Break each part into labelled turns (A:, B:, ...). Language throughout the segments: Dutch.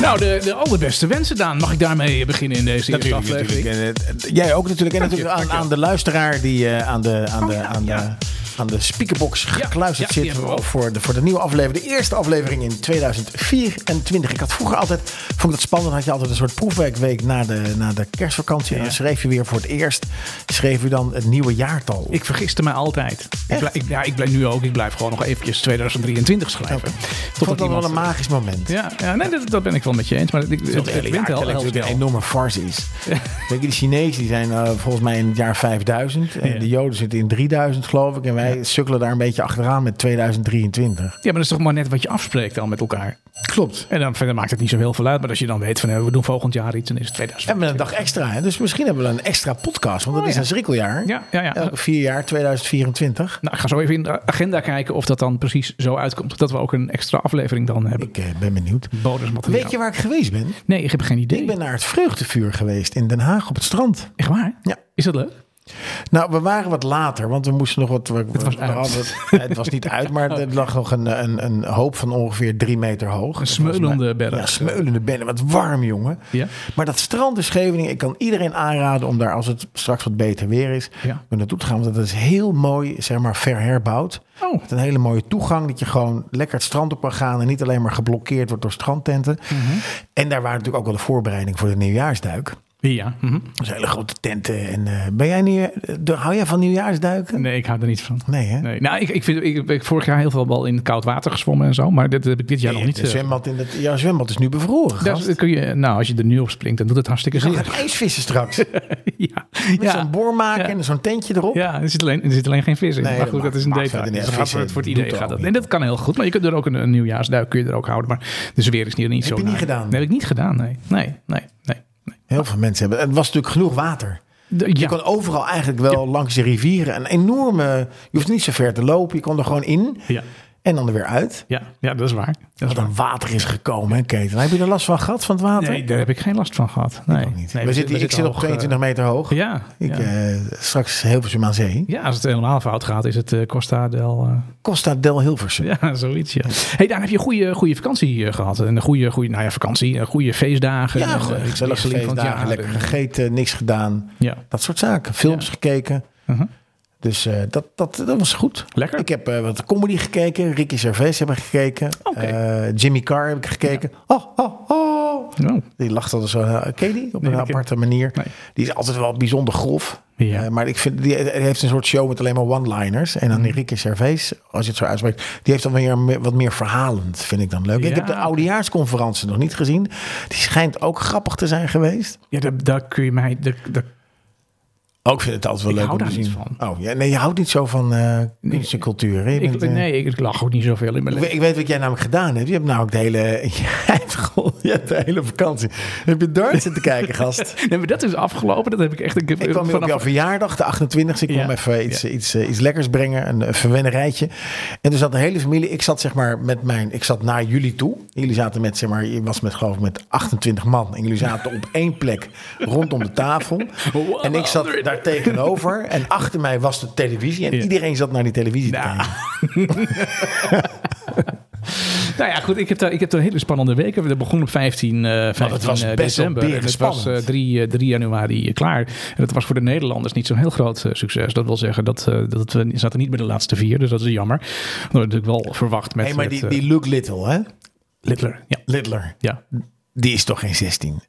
A: Nou, de, de allerbeste wensen, Daan. Mag ik daarmee beginnen in deze eerste
B: Natuurlijk,
A: aflevering?
B: natuurlijk. En, eh, jij ook natuurlijk. En
A: Dank je,
B: natuurlijk aan,
A: dank je.
B: aan de luisteraar die eh, aan de, aan de,
A: ja,
B: aan de,
A: ja.
B: aan de speakerbox gekluisterd
A: ja, die
B: zit
A: hebben we ook.
B: voor de, voor de nieuwe aflevering. De eerste aflevering in 2024. Ik had vroeger altijd, vond ik dat spannend, had je altijd een soort proefwerkweek na de, na de kerstvakantie. En dan schreef je weer voor het eerst, schreef je dan het nieuwe jaartal op.
A: Ik vergiste mij altijd. Ik blijf, ik, ja, ik blijf nu ook. Ik blijf gewoon nog eventjes 2023 schrijven.
B: Oké.
A: Totdat
B: vond dat wel
A: iemand-
B: een magisch moment.
A: Ja, ja nee, dat, dat ben ik wel met je eens. Maar het, het, het,
B: Het hele
A: wint wel
B: jaartelling
A: heel
B: natuurlijk
A: snel.
B: een enorme farce is. Weet je, de Chinezen die zijn eh, volgens mij in het jaar 5000. En
A: Ja.
B: de Joden zitten in 3000 geloof ik. En wij sukkelen daar een beetje achteraan met 2023.
A: Ja, maar dat is toch maar net wat je afspreekt al met elkaar.
B: Klopt.
A: En dan verder maakt het niet zo heel veel uit. Maar als je dan weet van eh, we doen volgend jaar iets, dan is het 2000.
B: En met een dag extra. Hè? Dus misschien hebben we een extra podcast. Want dat
A: Oh,
B: is
A: ja.
B: een schrikkeljaar.
A: Ja, ja, ja.
B: Elke vier jaar 2024.
A: Nou, ik ga zo even in de agenda kijken of dat dan precies zo uitkomt. Dat we ook een extra aflevering dan hebben.
B: Ik eh, ben benieuwd.
A: Bonusmateriaal.
B: Weet je waar ik geweest ben?
A: Nee, ik heb geen idee.
B: Ik ben naar het vreugdevuur geweest in Den Haag op het strand.
A: Echt waar?
B: Ja.
A: Is dat leuk?
B: Nou, we waren wat later, want we moesten nog wat. We,
A: was
B: we
A: uit.
B: hadden- nee, het was niet uit, maar er lag nog een, een, een hoop van ongeveer drie meter hoog.
A: Een smeulende berg.
B: Ja, smeulende bedden. Wat warm, jongen.
A: Ja.
B: Maar dat strand in Scheveningen, ik kan iedereen aanraden om daar, als het straks wat beter weer is,
A: Ja.
B: om naartoe te gaan. Want dat is heel mooi, zeg maar, verherbouwd.
A: Oh.
B: Met een hele mooie toegang, dat je gewoon lekker het strand op kan gaan en niet alleen maar geblokkeerd wordt door strandtenten.
A: Mhm.
B: En daar waren natuurlijk ook wel de voorbereiding voor de nieuwjaarsduik.
A: Ja. mhm.
B: Dat zijn hele grote tenten. En eh, ben jij nu, eh, de- hou jij van nieuwjaarsduiken?
A: Nee, ik hou er niet van.
B: Nee, hè?
A: Nee. Nou, ik, ik, vind, ik heb vorig jaar heel veel wel in koud water gezwommen en zo. Maar dit heb ik dit jaar nog niet.
B: Het
A: eh,
B: zwembad in het, jouw zwembad is nu bevroren.
A: daar
B: gast.
A: kun je, nou, als je er nu op springt, dan doet het hartstikke
B: We
A: zeer.
B: gaan ijsvissen straks. Met
A: ja.
B: zo'n
A: Ja.
B: boor maken
A: Ja.
B: en zo'n tentje erop.
A: ja, er zit, alleen, er zit alleen geen vis in.
B: Nee,
A: maar
B: dat
A: goed, dat is een
B: maakt-
A: detail. Dus
B: maakt verder
A: gaat
B: niet uit. Vissen
A: voor het, voor het
B: doet
A: idee
B: er
A: gaat
B: ook
A: dat.
B: niet.
A: En dat kan heel goed. Maar je kunt er ook een, een nieuwjaarsduik kun je er ook houden. Maar de sfeer is hier niet zo
B: je niet
A: naar.
B: gedaan?
A: Nee, heb ik niet gedaan. Nee, nee, nee. nee. nee.
B: Heel veel mensen hebben. Het was natuurlijk genoeg water.
A: De-
B: Je
A: ja.
B: kon overal eigenlijk wel langs de rivieren een enorme. Je hoeft niet zo ver te lopen. Je kon er gewoon in
A: Ja.
B: en dan er weer uit.
A: Ja. ja, dat is waar. Dat is
B: Wat
A: waar.
B: een water is gekomen, hè, Keten? Heb je er last van gehad van het water?
A: Nee, daar heb ik geen last van gehad. Nee,
B: Ook niet.
A: Nee,
B: we zitten, ik zit op
A: hoog, eh,
B: 22 meter hoog.
A: Ja,
B: Ik,
A: ja.
B: eh, straks Hilversum aan zee.
A: Ja, als het helemaal fout gaat, is het eh, Costa del... eh,
B: Costa del Hilversum.
A: ja, zoiets, ja. hey, daar heb je een goede, goede vakantie eh, gehad. En een goede, goede, nou ja, vakantie, een goede feestdagen.
B: Ja,
A: En,
B: gewoon
A: eh,
B: gezellige
A: wisseling van het
B: feestdagen,
A: jaar.
B: lekker gegeten, niks gedaan.
A: Ja.
B: Dat soort zaken. Films gekeken.
A: Mhm.
B: Dus eh, dat, dat, dat was goed.
A: Lekker.
B: Ik heb eh, wat comedy gekeken. Ricky Gervais heb ik gekeken.
A: Oké.
B: Eh, Jimmy Carr heb ik gekeken. Oh, oh, oh.
A: Oh,
B: Die lacht altijd zo. eh, Ken je die?
A: Nee,
B: Op een
A: ik ken-
B: aparte manier.
A: Nee.
B: Die is altijd wel bijzonder grof.
A: Ja.
B: Eh, maar ik vind, die heeft een soort show met alleen maar one-liners. En
A: Mhm.
B: dan die Ricky Gervais, als je het zo uitspreekt, die heeft dan weer me- wat meer verhalend, vind ik dan leuk. Ik
A: Ja.
B: heb de oudejaarsconferentie nog niet gezien. Die schijnt ook grappig te zijn geweest.
A: ja, daar, daar kun je mij... Daar, daar-
B: Ook vind het altijd wel
A: Ik
B: leuk
A: hou
B: om te
A: daar
B: zien.
A: niet van.
B: Oh, ja, nee, je houdt niet zo van eh kunst en cultuur. hè? Je
A: ik,
B: bent, eh,
A: nee, ik, ik lach ook niet zoveel in mijn
B: ik,
A: leven.
B: weet- ik weet wat jij namelijk gedaan hebt. Je hebt namelijk de hele, jij hebt gewoon- je hebt de hele vakantie. Heb je dart zitten kijken, gast?
A: Nee, maar dat is afgelopen. Dat heb ik echt...
B: Ik kwam hier op jouw verjaardag, de 28e. Ik kwam
A: Ja.
B: even iets, iets, eh, iets lekkers brengen, een, een verwennerijtje. En toen zat de hele familie. Ik zat zeg maar met mijn... Ik zat naar jullie toe. Jullie zaten met, zeg maar... Je was met geloof ik met 28 man. En jullie zaten op één plek rondom de tafel.
A: Wow.
B: En ik zat daar tegenover. En achter mij was de televisie. En
A: Ja.
B: iedereen zat naar die televisie te
A: Nou.
B: kijken.
A: Nou ja, goed, ik heb daar, ik heb daar hele spannende weken. We begonnen op 15, eh 15
B: het was
A: eh,
B: best wel
A: december. en het was eh,
B: berenspannend.
A: 3, eh, 3 januari eh, klaar. En dat was voor de Nederlanders niet zo'n heel groot eh, succes. Dat wil zeggen dat, eh, dat we zaten niet bij de laatste vier, dus dat is jammer. Dat had natuurlijk wel verwacht met,
B: Hé, maar
A: met,
B: die,
A: eh,
B: die Luke Little, hè?
A: Littler. Ja,
B: Littler.
A: ja.
B: Die is toch geen 16?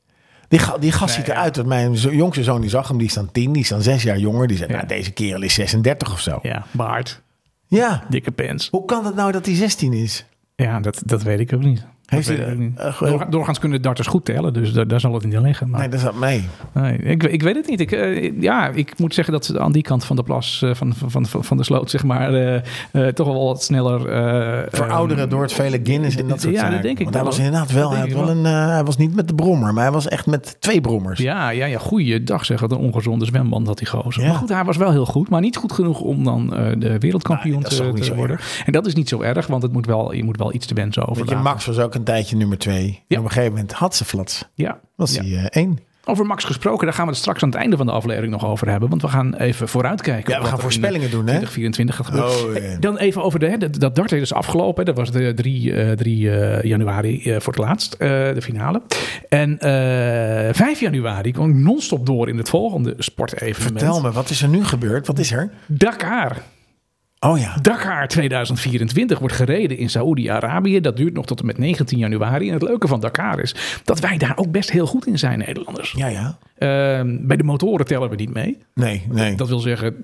B: Die, ga- die gast ziet
A: Nee,
B: eruit. dat Mijn zo- jongste zoon die zag hem, die is dan 10, die is dan 6 jaar jonger. Die zegt,
A: Ja.
B: nou, deze kerel is 36 of zo.
A: ja, baard,
B: Ja.
A: dikke pens.
B: Hoe kan het nou dat hij 16 is?
A: Ja, dat, dat weet ik ook niet.
B: Heeft
A: Dat
B: hij-
A: weet ik ook niet.
B: eh, ge-
A: Doorga- doorgaans kunnen darters goed tellen, dus daar, daar zal het niet aan liggen. Maar...
B: Nee, dat is mee.
A: Nee, ik, ik weet het niet. Ik, eh, ja, ik moet zeggen dat ze aan die kant van de plas, eh, van, van, van, van de sloot, zeg maar, eh, eh, toch wel wat sneller. eh, eh,
B: Verouderen door het vele Guinness en dat soort
A: ja, dat
B: zaken.
A: denk ik
B: Want hij
A: wel,
B: was
A: hoor.
B: inderdaad wel,
A: Dat
B: hij, had
A: denk
B: wel
A: ik
B: een, eh, hij was niet met de brommer, maar hij was echt met twee brommers.
A: ja, ja, ja, goeie dag zeg. Wat een ongezonde zwemband had die gozer.
B: Ja.
A: Maar goed, hij was wel heel goed. Maar niet goed genoeg om dan eh, de wereldkampioen
B: Nee, dat is
A: te,
B: ook niet
A: te
B: zo
A: worden. En dat is niet zo erg, want het moet wel, je moet wel iets te wensen
B: Weet je,
A: over.
B: Max was ook een tijdje nummer twee. En
A: Ja.
B: op een gegeven moment had ze flats.
A: Ja,
B: Was
A: ja.
B: hij eh, één.
A: Over Max gesproken, daar gaan we het straks aan het einde van de aflevering nog over hebben. Want we gaan even vooruitkijken.
B: Ja, we
A: op wat er
B: gaan
A: in
B: voorspellingen doen, hè?
A: 2024 gaat gebeuren.
B: Oh, ja.
A: Hey, Dan even over de, hè, dat, dat dart is afgelopen. hè. Dat was de 3, eh, 3 eh, januari eh, voor het laatst, eh, de finale. En eh 5 januari kwam ik non-stop door in het volgende sportevenement.
B: Vertel me, wat is er nu gebeurd? Wat is er?
A: Dakar.
B: Oh ja.
A: Dakar 2024 wordt gereden in Saoedi-Arabië. Dat duurt nog tot en met 19 januari. En het leuke van Dakar is dat wij daar ook best heel goed in zijn, Nederlanders.
B: Ja, ja.
A: Ehm, bij de motoren tellen we niet mee.
B: Nee, nee.
A: Dat wil zeggen,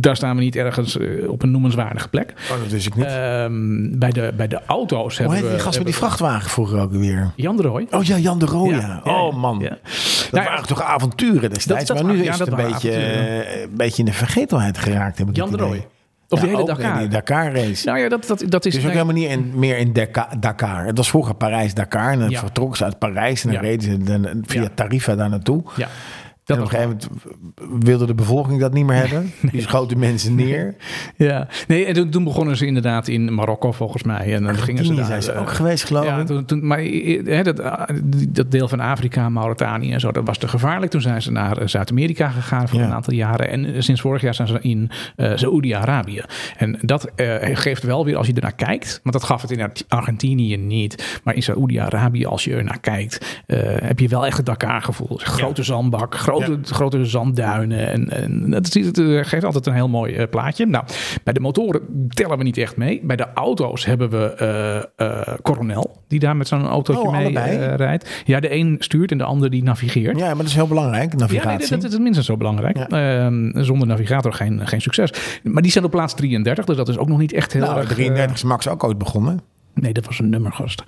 A: daar staan we niet ergens eh, op een noemenswaardige plek.
B: oh, dat wist ik niet.
A: Ehm, bij, de, bij de auto's
B: Hoe
A: hebben
B: heet
A: we...
B: die gast met
A: hebben
B: die vrachtwagen vroeger ook weer?
A: we- Jan de Rooij.
B: Oh ja, Jan de Rooij. ja.
A: ja,
B: Oh
A: ja,
B: man.
A: ja.
B: Dat
A: Nou ja,
B: waren toch avonturen destijds.
A: dat
B: maar nu
A: waren- ja,
B: is
A: dat
B: het een
A: waren
B: beetje,
A: avonturen.
B: eh, een beetje in de vergetelheid geraakt. Heb ik
A: Jan
B: het
A: de
B: idee.
A: Rooij. Of die
B: Ja,
A: hele
B: ook,
A: Dakar.
B: eh, die Dakar race.
A: Nou ja, dat, dat, dat is...
B: Het is ook
A: nee,
B: helemaal niet in, meer in Deka- Dakar. Het was vroeger Parijs-Dakar. En dan
A: Ja.
B: vertrokken ze uit Parijs. En dan
A: Ja.
B: reden ze dan via
A: Ja.
B: Tarifa daar naartoe.
A: ja,
B: en
A: dat
B: op
A: was
B: een gegeven moment wilde de bevolking dat niet meer hebben. Die schoten mensen neer.
A: Ja, nee, en toen, toen begonnen ze inderdaad in Marokko volgens mij. En dan gingen ze
B: Argentinië
A: daar.
B: zijn ze
A: eh,
B: ook geweest, geloof
A: ja,
B: ik.
A: toen, toen, maar eh, hè, dat, ah, die- dat deel van Afrika, Mauritanië en zo, dat was te gevaarlijk. Toen zijn ze naar eh, Zuid-Amerika gegaan voor
B: Ja.
A: een aantal jaren. En eh, sinds vorig jaar zijn ze in eh Saoedi-Arabië. En dat eh, geeft wel weer, als je ernaar kijkt, want dat gaf het in Ar- Argentinië niet. Maar in Saoedi-Arabië, als je ernaar kijkt, eh, heb je wel echt het Dakar-gevoel. Grote zandbak, grote, grote zandduinen. En, en dat is, het eh, geeft altijd een heel mooi eh, plaatje. Nou, bij de motoren tellen we niet echt mee. Bij de auto's hebben we eh eh, Coronel, die daar met zo'n autootje
B: Oh,
A: mee
B: allebei?
A: eh, rijdt. Ja, de een stuurt en de ander die navigeert.
B: Ja, maar dat is heel belangrijk,
A: Ja, nee,
B: navigatie.
A: dat, dat is minstens zo belangrijk. Ehm, zonder navigator geen, geen succes. Maar die staan op plaats 33, dus dat is ook nog niet echt heel
B: Nou,
A: erg... eh,
B: 33 is Max ook ooit begonnen.
A: Nee, dat was een nummergast.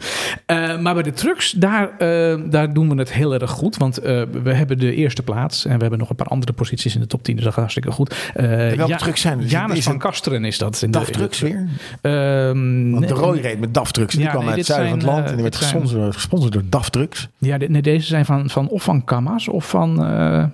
A: Eh, maar bij de trucks, daar, eh, daar doen we het heel erg goed. Want eh, we hebben de eerste plaats. En we hebben nog een paar andere posities in de top 10. Dus dat gaat hartstikke goed. Eh,
B: welke trucks zijn er? Dus
A: Janus
B: is
A: van
B: het
A: Kasteren is dat. In de-
B: DAF-trucks weer?
A: Ehm,
B: Want de
A: nee,
B: Roy reed met DAF-trucks. Die
A: Ja,
B: kwam
A: nee,
B: uit het
A: dit
B: zuiden van het
A: zijn,
B: land.
A: eh,
B: en die werd
A: dit zijn-
B: gesponsord, gesponsord door DAF-trucks.
A: ja, de- nee, deze zijn van, van of van Kamaz of van eh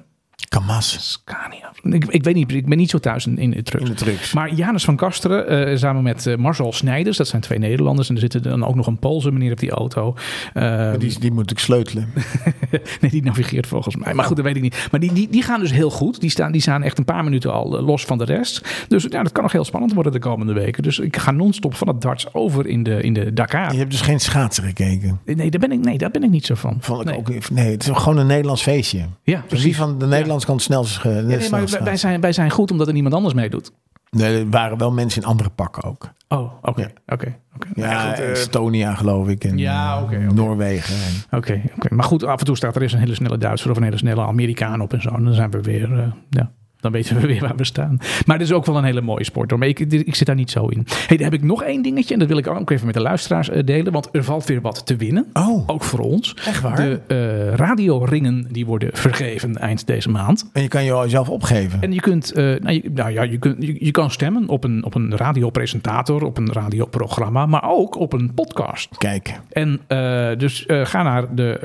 B: Kamas
A: Scania. Ik, ik weet niet, ik ben niet zo thuis in, in de trucks.
B: in de trucks.
A: Maar Janus van Kasteren, eh, samen met eh, Marcel Snijders, dat zijn twee Nederlanders. En er zitten dan ook nog een Poolse meneer op die auto. Eh,
B: die, die moet ik sleutelen.
A: nee, die navigeert volgens mij. Maar goed, dat weet ik niet. Maar die, die, die gaan dus heel goed. Die staan, die staan echt een paar minuten al eh, los van de rest. Dus ja, dat kan nog heel spannend worden de komende weken. Dus ik ga non-stop van het darts over in de, in de Dakar.
B: Je hebt dus geen schaatsen gekeken.
A: Nee, daar ben ik, nee, daar ben ik niet zo van.
B: Vond ik
A: nee.
B: ook, nee, het is gewoon een Nederlands feestje.
A: Ja,
B: Dus
A: precies.
B: wie van de Nederlands kant snel ge-
A: Ja, nee,
B: snel
A: maar wij,
B: schaatsen.
A: wij zijn, wij zijn goed omdat er niemand anders meedoet.
B: Nee, er waren wel mensen in andere pakken ook.
A: Oh, oké.
B: Ja.
A: Oké, oké.
B: Ja, Estonia geloof ik. En
A: eh, Ja,
B: eh,
A: oké, oké.
B: Noorwegen. En,
A: Oké, oké. maar goed, af en toe staat er eens een hele snelle Duitser of een hele snelle Amerikaan op en zo. En dan zijn we weer, eh, ja, dan weten we weer waar we staan. Maar het is ook wel een hele mooie sport hoor. Maar ik, ik zit daar niet zo in. hey, daar heb ik nog één dingetje en dat wil ik ook even met de luisteraars eh, delen. Want er valt weer wat te winnen.
B: oh,
A: Ook voor ons.
B: echt waar?
A: De eh, radioringen die worden vergeven eind deze maand.
B: En je kan je zelf opgeven.
A: En je kunt, eh, nou, je, nou ja, je, kunt, je, je kan stemmen op een, op een radiopresentator, op een radioprogramma, maar ook op een podcast.
B: Kijk,
A: En eh, dus eh, ga naar de,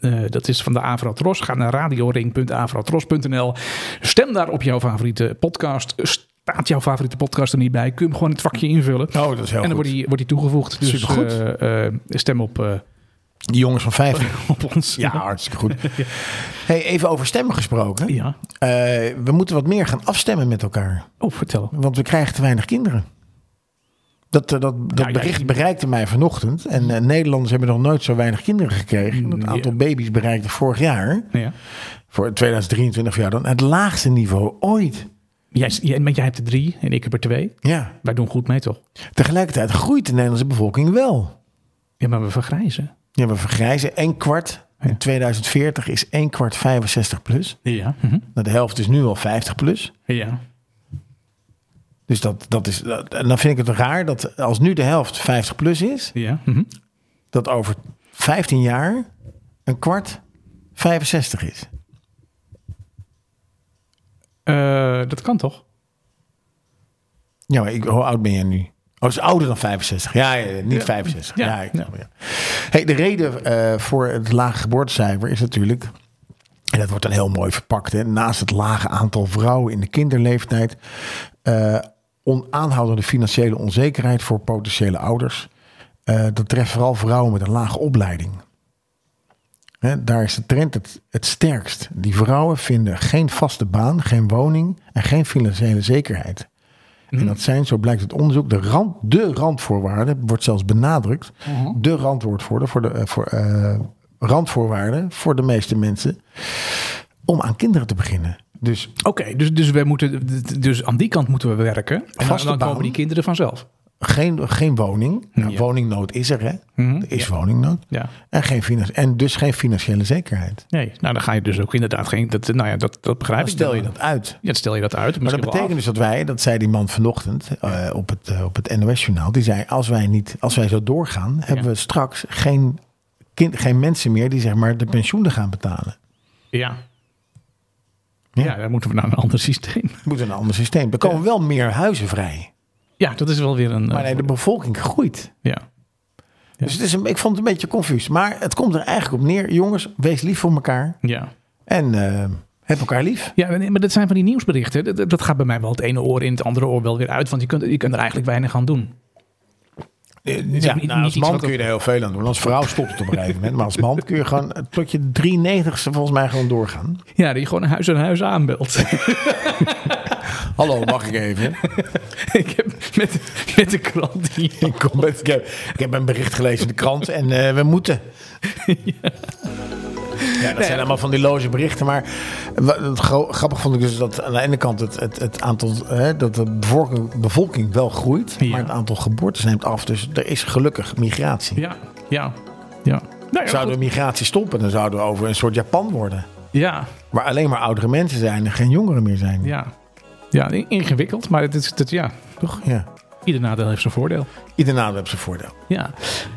A: eh, eh, dat is van de Avrotros. Ga naar radioring.avrotros.nl. Stem daar op jouw favoriete podcast. Staat jouw favoriete podcast er niet bij? Kun je hem gewoon het vakje invullen.
B: Oh, dat is
A: en dan
B: heel goed.
A: wordt die, wordt die toegevoegd. Dus
B: Supergoed.
A: eh, eh, stem op, eh,
B: die jongens van 50.
A: op ons.
B: Ja, hartstikke goed. Hey, even over stemmen gesproken.
A: ja.
B: Eh, we moeten wat meer gaan afstemmen met elkaar.
A: Oh, vertel.
B: Want we krijgen te weinig kinderen. Dat, eh, dat, dat
A: Nou ja,
B: bericht
A: je-
B: bereikte mij vanochtend. En eh, Nederlanders hebben nog nooit zo weinig kinderen gekregen. Het
A: Mm, Ja.
B: aantal baby's bereikte vorig jaar,
A: Ja.
B: voor 2023 jaar dan, het laagste niveau ooit.
A: Jij, jij, want jij hebt er drie en ik heb er twee.
B: Ja.
A: Wij doen goed mee, toch?
B: Tegelijkertijd groeit de Nederlandse bevolking wel.
A: Ja, maar we vergrijzen.
B: Ja, we vergrijzen een kwart.
A: Ja.
B: In 2040 is een kwart 65 plus.
A: Ja. Mhm.
B: Nou, de helft is nu al 50 plus.
A: Ja.
B: Dus dat, dat is, dat- en dan vind ik het raar dat als nu de helft 50 plus is,
A: Ja. Mhm.
B: dat over 15 jaar een kwart 65 is.
A: Eh, dat kan toch?
B: Ja, maar ik, hoe oud ben jij nu? Oh, dat is ouder dan 65. Ja, ja, ja, niet
A: Ja.
B: 65.
A: Ja.
B: Ja, ik snap het, ja. Hey, de reden eh, voor het lage geboortecijfer is natuurlijk... En dat wordt dan heel mooi verpakt. Hè, naast het lage aantal vrouwen in de kinderleeftijd... eh onaanhoudende financiële onzekerheid voor potentiële ouders. Eh, dat treft vooral vrouwen met een lage opleiding. Hè, daar is de trend het, het sterkst. Die vrouwen vinden geen vaste baan, geen woning en geen financiële zekerheid. En dat zijn, zo blijkt het onderzoek, de, rand, de randvoorwaarden, wordt zelfs benadrukt, de randwoordvoorwaarden voor de, eh, voor, eh, randvoorwaarden voor de meeste mensen om aan kinderen te beginnen. Dus
A: Oké, dus, dus, wij moeten, dus aan die kant moeten we werken. En dan,
B: Vaste
A: dan komen
B: baan.
A: die kinderen vanzelf.
B: geen, geen woning. Nou,
A: Ja.
B: Woningnood is er, hè? Er is woningnood.
A: Ja.
B: En, geen finan- en dus geen financiële zekerheid.
A: Nee, nou dan ga je dus ook inderdaad geen. Dat, nou ja, dat, dat begrijp
B: Dan
A: ik.
B: stel je
A: dan.
B: dat uit.
A: Ja, dan stel je dat uit.
B: Maar dat
A: misschien wel
B: betekent dus dat wij, dat zei die man vanochtend eh, op het, eh, op het NOS-journaal, die zei: als wij, niet, als wij zo doorgaan, hebben we straks geen, kind, geen mensen meer die zeg maar de pensioenen gaan betalen.
A: af. Ja.
B: Ja.
A: Ja, dan moeten we naar een ander systeem.
B: We moeten een ander systeem. Er komen wel meer huizen vrij.
A: Ja, dat is wel weer een. eh,
B: Maar nee, de bevolking groeit.
A: ja.
B: Dus het is een, ik vond het een beetje confus. Maar het komt er eigenlijk op neer. Jongens, wees lief voor elkaar.
A: Ja.
B: En eh, heb elkaar lief.
A: Ja, nee, maar dat zijn van die nieuwsberichten. Dat- Dat, dat gaat bij mij wel het ene oor in, het andere oor wel weer uit. Want je kunt, je kunt er eigenlijk weinig aan doen.
B: Ja,
A: Eh, niet-
B: nou,
A: niet
B: als
A: iets
B: man
A: wat-
B: kun je er heel veel aan doen. Als vrouw stopt het op een gegeven moment. Maar als man kun je gewoon eh, tot je 93ste volgens mij gewoon doorgaan.
A: Ja, dat je gewoon huis aan huis aanbelt.
B: Hallo, mag ik even?
A: ik heb met, met de krant hier.
B: Ik, kom met- ik, heb, ik heb een bericht gelezen in de krant en eh, we moeten. Ja, dat zijn allemaal van die loze berichten. Maar wa- het gro- grappig vond ik dus dat aan de ene kant het, het, het aantal, hè, dat de bevolking, bevolking wel groeit.
A: Ja.
B: Maar het aantal geboortes neemt af. Dus er is gelukkig migratie.
A: Ja, ja, ja. Nou ja,
B: Zouden
A: goed.
B: we migratie stoppen, dan zouden we over een soort Japan worden.
A: ja,
B: Waar alleen maar oudere mensen zijn en geen jongeren meer zijn.
A: ja. Ja, in- ingewikkeld, maar het is, dat, ja,
B: Toch? Ja.
A: ieder nadeel heeft zijn voordeel.
B: Ieder nadeel heeft zijn voordeel.
A: Ja.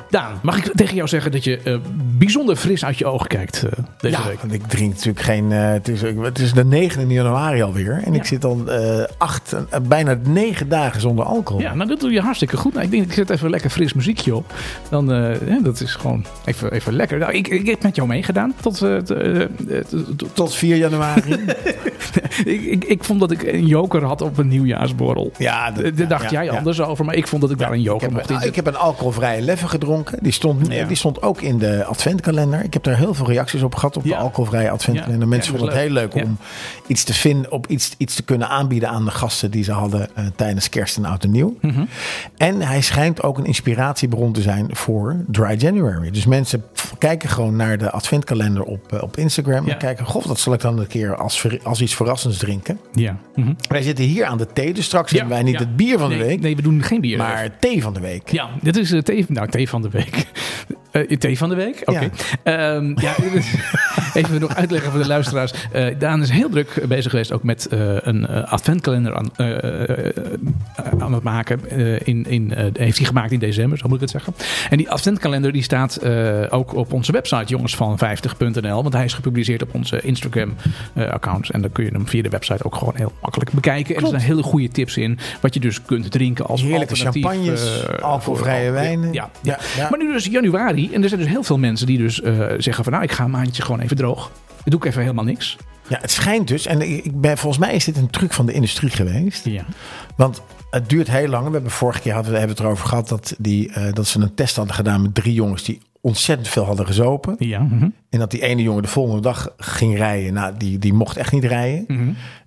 A: Daan, mag ik tegen jou zeggen dat je eh, bijzonder fris uit je ogen kijkt eh, deze
B: ja,
A: week?
B: want ik drink natuurlijk geen. eh, het, is, het is de 9e januari alweer. En ik zit al eh, acht, eh, bijna negen dagen zonder alcohol.
A: Ja, nou dat doe je hartstikke goed. Nou, ik denk, ik zet even lekker fris muziekje op. Dan, eh, hè, dat is gewoon even, even lekker. Nou, ik, ik heb met jou meegedaan. Tot, eh, t- eh, eh, t- tot-
B: Tot 4 januari.
A: ik, ik, ik vond dat ik een joker had op een nieuwjaarsborrel.
B: ja, dat-
A: Eh, Daar dacht
B: ja,
A: jij
B: ja.
A: anders over, maar ik vond dat ik daar een
B: Ik
A: joker
B: heb,
A: mocht
B: nou,
A: in.
B: ik heb een alcoholvrije leffe gedronken. Die stond, eh,
A: Ja.
B: die stond ook in de adventkalender. Ik heb daar heel veel reacties op gehad op
A: Ja.
B: de alcoholvrije adventkalender.
A: Ja,
B: Mensen
A: ja, dat
B: vonden
A: was
B: het heel
A: leuk.
B: leuk om iets te vinden, op iets, iets te kunnen aanbieden aan de gasten die ze hadden eh, tijdens kerst en oud en nieuw.
A: Mhm.
B: En hij schijnt ook een inspiratiebron te zijn voor Dry January. Dus mensen pff, kijken gewoon naar de adventkalender op, eh, op Instagram.
A: Ja.
B: En kijken, goh, dat zal ik dan een keer als, ver- als iets verrassends drinken.
A: Ja. Mhm.
B: Wij zitten hier aan de thee, dus straks
A: Ja,
B: hebben wij niet
A: ja.
B: het bier van de
A: Nee,
B: week,
A: Nee, we doen geen bier.
B: maar thee van de week.
A: Ja, dit is eh, thee, nou, thee van de week. Eh thee van de week? Oké. Ehm, ja, even nog uitleggen voor de luisteraars. Eh, Daan is heel druk bezig geweest ook met eh, een eh, adventkalender aan, eh, eh, eh, aan het maken. Eh, in, in, eh, heeft hij gemaakt in december, zo moet ik het zeggen. En die adventkalender die staat eh, ook op onze website jongensvan50.nl. Want hij is gepubliceerd op onze Instagram-account. en dan kun je hem via de website ook gewoon heel makkelijk bekijken. En er zijn hele goede tips in wat je dus kunt drinken als
B: Heerlijke
A: alternatief,
B: champagnes,
A: eh,
B: alcoholvrije
A: voor-
B: wijnen.
A: Ja, ja.
B: Ja, ja.
A: Maar nu dus januari. En er zijn dus heel veel mensen die dus eh, zeggen van... nou, ik ga een maandje gewoon even droog. Dan doe ik even helemaal niks.
B: Ja, het schijnt dus, en ik ik ben, volgens mij is dit een truc van de industrie geweest.
A: Ja.
B: Want het duurt heel lang. We hebben vorige keer hadden, we hebben het erover gehad dat, die, eh, dat ze een test hadden gedaan met drie jongens die ontzettend veel hadden gezopen.
A: Ja. mhm.
B: En dat die ene jongen de volgende dag ging rijden. Nou, die, die mocht echt niet rijden.
A: Mhm.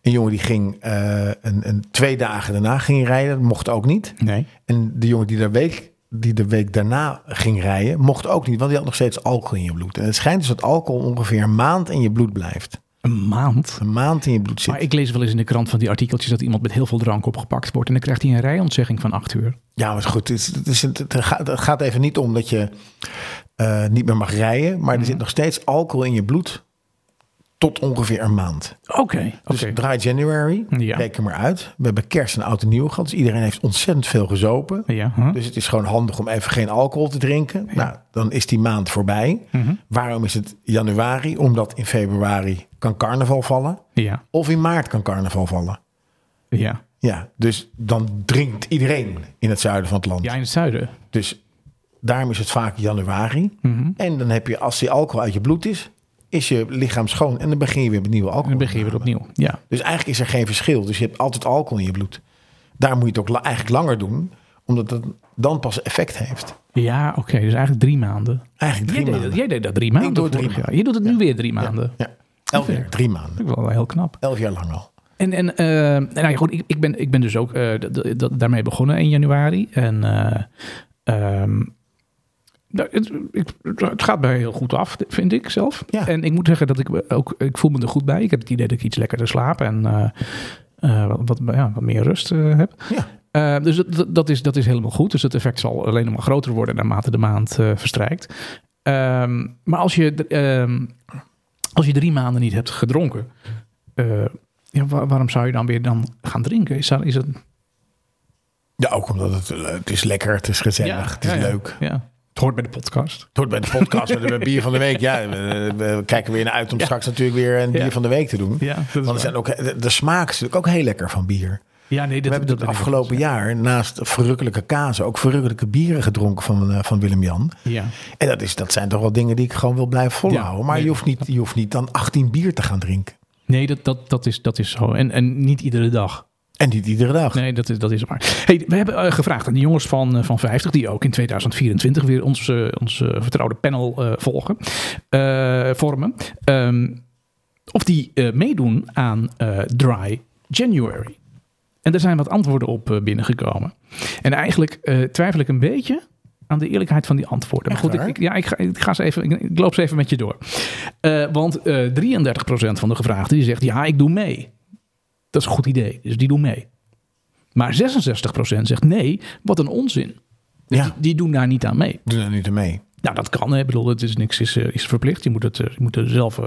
B: Een jongen die ging eh, een, een, twee dagen daarna ging rijden, dat mocht ook niet.
A: Nee.
B: En de jongen die, daar week, die de week daarna ging rijden, mocht ook niet. Want die had nog steeds alcohol in je bloed. En het schijnt dus dat alcohol ongeveer een maand in je bloed blijft.
A: Een maand.
B: Een maand in je bloed zit.
A: Maar ik lees wel eens in de krant van die artikeltjes... dat iemand met heel veel drank opgepakt wordt. En dan krijgt hij een rijontzegging van acht uur.
B: Ja, maar goed, het, is- het, is- het, gaat, het gaat even niet om dat je eh, niet meer mag rijden, maar er
A: Mhm.
B: zit nog steeds alcohol in je bloed tot ongeveer een maand.
A: Oké.
B: Dus
A: Oké.
B: Dry January,
A: Ja.
B: reken maar uit. We hebben kerst en oud en nieuw gehad, dus iedereen heeft ontzettend veel gezopen.
A: Ja. huh?
B: Dus het is gewoon handig om even geen alcohol te drinken. Nou, dan is die maand voorbij.
A: Mhm.
B: Waarom is het januari? Omdat in februari kan carnaval vallen.
A: Ja.
B: Of in maart kan carnaval vallen.
A: Ja.
B: Ja, dus dan drinkt iedereen in het zuiden van het land.
A: Ja, in het zuiden.
B: Dus daarom is het vaak januari.
A: Mhm.
B: En dan heb je, als die alcohol uit je bloed is, is je lichaam schoon. En dan begin je weer met nieuwe alcohol.
A: Dan begin je weer opnieuw. Ja.
B: Dus eigenlijk is er geen verschil. Dus je hebt altijd alcohol in je bloed. Daar moet je het ook la- eigenlijk langer doen Omdat dat dan pas effect heeft.
A: Ja, oké. dus eigenlijk drie maanden.
B: Eigenlijk drie
A: jij,
B: maanden.
A: Deed, jij deed dat drie maanden.
B: doe het
A: vorig
B: drie
A: jaar. Je doet het nu weer drie maanden.
B: Ja. Elf jaar, drie maanden.
A: Dat is wel heel knap.
B: Elf jaar lang al.
A: En, en eh, nou ja, goed, ik, ik, ben, ik ben dus ook eh, d- d- d- daarmee begonnen in januari. En eh, ehm, nou, het, ik, het gaat mij heel goed af, vind ik zelf.
B: Ja.
A: En ik moet zeggen dat ik me ook, ik voel me er goed bij. Ik heb het idee dat ik iets lekkerder slaap en eh, eh, wat- wat, ja, wat meer rust eh, heb.
B: Ja.
A: Eh, dus dat- dat, dat, is, dat is helemaal goed. Dus het effect zal alleen nog maar groter worden naarmate de maand eh, verstrijkt. Ehm, maar als je, d- ehm, als je drie maanden niet hebt gedronken, eh, ja, wa- waarom zou je dan weer dan gaan drinken? Is dat, is dat,
B: ja, ook omdat het, eh, het is lekker, het is gezellig, het is
A: ja, ja.
B: leuk.
A: Ja. Het hoort bij de podcast.
B: Het hoort bij de podcast met de bier van de week. Ja, we, we kijken weer naar uit om straks natuurlijk weer een
A: Ja.
B: bier van de week te doen.
A: Ja, dat is
B: Want
A: waar.
B: er zijn ook, eh, de, de smaak is natuurlijk ook heel lekker van bier.
A: Ja, nee,
B: We
A: dat,
B: hebben
A: dat
B: het
A: ben ik
B: afgelopen jaar naast verrukkelijke kazen ook verrukkelijke bieren gedronken van, eh, van Willem-Jan.
A: eens. Ja.
B: En dat, is, dat zijn toch wel dingen die ik gewoon wil blijven volhouden.
A: Ja,
B: maar
A: nee.
B: je, hoeft niet, je hoeft niet dan 18 bier te gaan drinken.
A: Nee, dat, dat, dat, is, dat is zo. En, en niet iedere dag.
B: En niet iedere dag.
A: Nee, dat is, dat is waar. Hey, we hebben eh, gevraagd aan de jongens van, eh, van 50, die ook in 2024 weer ons, eh, ons eh, vertrouwde panel eh, volgen, eh, vormen. ehm, of die eh, meedoen aan eh, Dry January. En er zijn wat antwoorden op eh, binnengekomen. En eigenlijk eh, twijfel ik een beetje aan de eerlijkheid van die antwoorden. Maar
B: Echt
A: goed, ik,
B: waar?
A: ik- ja, ik, ga, ik, ga ze even, ik, ik loop ze even met je door. Eh, want eh 33% van de gevraagden die zegt, ja, ik doe mee. Dat is een goed idee, dus die doen mee. Maar 66% zegt nee, wat een onzin. Dus
B: Ja.
A: Die, die doen daar niet aan mee.
B: Doe er niet aan mee.
A: Nou, dat kan. Hè. Ik bedoel, het is niks is, eh, is verplicht. Je moet, het, eh, je moet er zelf eh,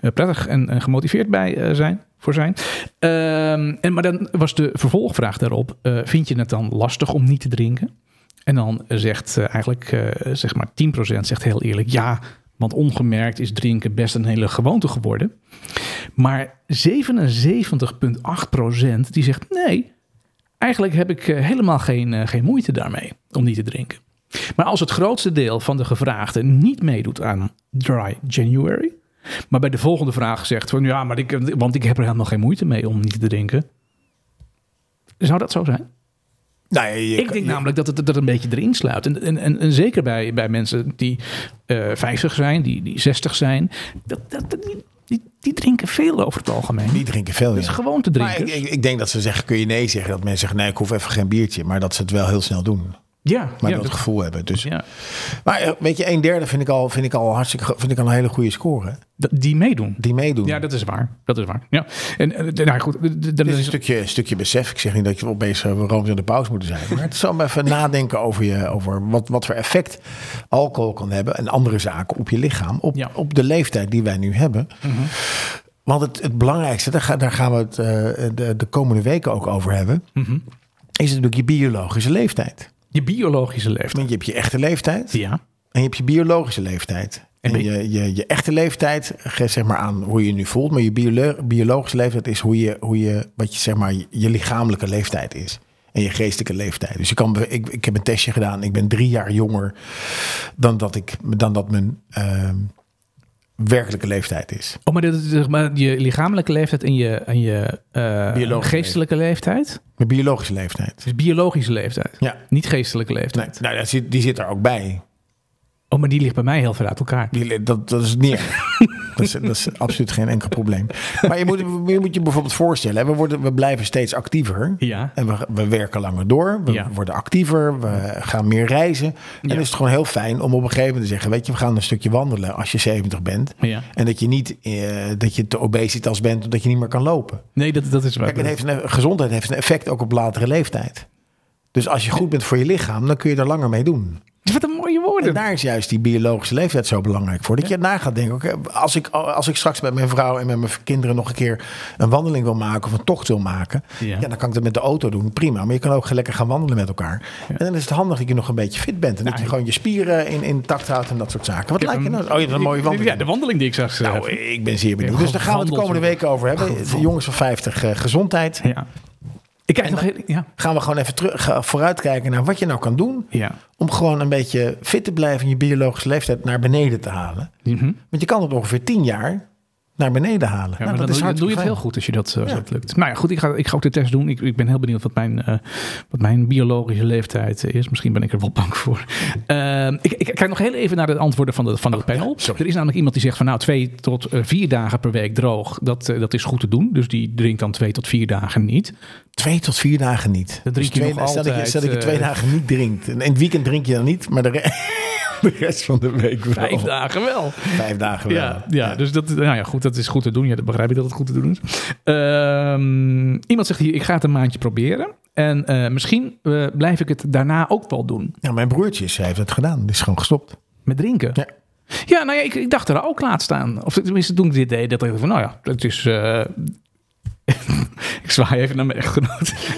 A: eh, prettig en, en gemotiveerd bij eh, zijn, voor zijn. Ehm, en, maar dan was de vervolgvraag daarop. eh, vind je het dan lastig om niet te drinken? En dan eh, zegt eh, eigenlijk eh, zeg maar 10% zegt heel eerlijk ja. Want ongemerkt is drinken best een hele gewoonte geworden. Maar 77,8% die zegt nee, eigenlijk heb ik eh, helemaal geen, eh, geen moeite daarmee om niet te drinken. Maar als het grootste deel van de gevraagden niet meedoet aan Dry January, maar bij de volgende vraag zegt van ja, maar ik, want ik heb er helemaal geen moeite mee om niet te drinken. Zou dat zo zijn?
B: Nou, ja, je,
A: Ik
B: kan-
A: denk
B: je-
A: namelijk dat het dat een beetje erin sluit. En, en, en, en zeker bij, bij mensen die eh 50 zijn, die, die 60 zijn, dat, dat, dat- die, die, die drinken veel over het algemeen.
B: die drinken veel.
A: Dat is
B: ja.
A: gewoon te
B: Maar
A: drinken.
B: ik, ik, ik denk dat ze zeggen, kun je nee zeggen? Dat mensen zeggen, nee, ik hoef even geen biertje. Maar dat ze het wel heel snel doen.
A: ja,
B: Maar
A: ja,
B: dat,
A: dat-
B: gevoel hebben. Dus.
A: ja.
B: Maar eh, weet je, een derde vind ik al, vind ik al hartstikke, vind ik al een hele goede score. hè?
A: Dat- die meedoen.
B: Die meedoen.
A: Ja, dat is waar. Dat is waar. Ja. En eh, nou goed, d- d- dan
B: Dit is
A: is
B: een stukje, een stukje besef. Ik zeg niet dat je opeens eh, roomser in de pauze moeten zijn. Maar het is om even nadenken over, je, over wat, wat voor effect alcohol kan hebben. En andere zaken op je lichaam. Op,
A: Ja.
B: op de leeftijd die wij nu hebben.
A: Mhm.
B: Want het, het belangrijkste, daar, ga- daar gaan we het eh, de, de komende weken ook over hebben.
A: Mhm.
B: Is natuurlijk je biologische leeftijd.
A: je biologische leeftijd.
B: Want je hebt je echte leeftijd.
A: Ja.
B: En je hebt je biologische leeftijd.
A: En
B: En
A: ben-
B: je, je, je echte leeftijd geeft zeg maar aan hoe je je nu voelt. Maar je biolo- biologische leeftijd is hoe je, hoe je, wat je, zeg maar, je, je lichamelijke leeftijd is. En je geestelijke leeftijd. Dus je kan, be- ik, ik heb een testje gedaan. Ik ben drie jaar jonger dan dat, ik, dan dat mijn ehm, werkelijke leeftijd is.
A: Oh, maar, dat is, zeg maar je lichamelijke leeftijd en je, en je eh,
B: Biologische
A: geestelijke leeftijd.
B: Mijn biologische leeftijd.
A: Dus biologische leeftijd.
B: Ja.
A: Niet geestelijke
B: Nee,
A: leeftijd.
B: nou, dat zit, die zit er ook bij.
A: Oh, maar die ligt bij mij heel ver uit elkaar.
B: Die, le- dat, dat is neer. dat, is, dat is absoluut geen enkel probleem. Maar je moet je, moet je bijvoorbeeld voorstellen. hè, We, worden, we blijven steeds actiever.
A: Ja.
B: En we, we werken langer door, we
A: Ja.
B: worden actiever, we gaan meer reizen. En dan is het gewoon heel fijn om op een gegeven moment te zeggen... weet je, we gaan een stukje wandelen als je 70 bent.
A: Ja.
B: En dat je niet eh, dat je te obesitas bent omdat je niet meer kan lopen.
A: Nee, dat, dat is waar.
B: Kijk, het heeft een, gezondheid heeft een effect ook op latere leeftijd. Dus als je goed bent voor je lichaam, dan kun je er langer mee doen.
A: Wat een mooie woorden.
B: En daar is juist die biologische leeftijd zo belangrijk voor. Dat je na gaat denken, oké, als, ik, als ik straks met mijn vrouw en met mijn kinderen nog een keer een wandeling wil maken of een tocht wil maken,
A: Ja.
B: ja. dan kan ik dat met de auto doen, prima. Maar je kan ook lekker gaan wandelen met elkaar. En dan is het handig dat je nog een beetje fit bent en dat je gewoon je spieren in, intact houdt en dat soort zaken. Wat
A: Nou, Ik heb
B: lijkt
A: hem-
B: je nou? Oh, je hebt een mooie wandeling.
A: Ja, de wandeling die ik zag. eh,
B: nou, ik ben zeer benieuwd.
A: Ja,
B: Dus daar gaan we het de komende
A: gewandeld,
B: weken over hebben.
A: Gewandeld.
B: De jongens van 50, eh, gezondheid.
A: ja. Ik kijk nog heel... Ja.
B: Gaan we gewoon even terug, ga- vooruitkijken naar wat je nou kan doen
A: Ja.
B: om gewoon een beetje fit te blijven en je biologische leeftijd naar beneden te halen.
A: Mhm.
B: Want je kan het ongeveer 10 jaar naar beneden halen.
A: Ja,
B: Nou,
A: maar dan doe, je- doe je het
B: hartstikke
A: heel
B: fijn.
A: goed als je dat, eh, als
B: Ja.
A: dat lukt. Nou ja, goed, ik ga, ik ga ook de test doen. Ik, ik ben heel benieuwd wat mijn, eh, wat mijn biologische leeftijd eh, is. Misschien ben ik er wel bang voor. Ehm, ik, ik kijk nog heel even naar de antwoorden van, de, van het panel. er is namelijk iemand die zegt van nou twee tot eh, vier dagen per week droog. Dat, eh, dat is goed te doen. Dus die drinkt dan twee tot vier dagen niet.
B: Twee tot vier dagen niet. Dus
A: Dan drink je
B: twee,
A: nog
B: stel dat je,
A: altijd,
B: stel dat je twee
A: eh,
B: dagen niet drinkt. En in het weekend drink je dan niet, maar de, re- de rest van de week wel.
A: Vijf dagen wel.
B: Vijf dagen wel.
A: Oh. Ja, ja, dus dat, nou ja, goed, dat is goed te doen. Ja, dat begrijp ik dat het goed te doen is. Ehm, iemand zegt hier, ik ga het een maandje proberen. En eh, misschien eh, blijf ik het daarna ook wel doen.
B: Ja, mijn broertje is- hij heeft het gedaan. Die is gewoon gestopt.
A: Met drinken.
B: Ja.
A: Ja, nou ja, ik, ik dacht er ook laatst aan. Of tenminste, toen ik dit deed, dacht ik van, nou ja, het is... eh, ik zwaai even naar mijn echtgenoot.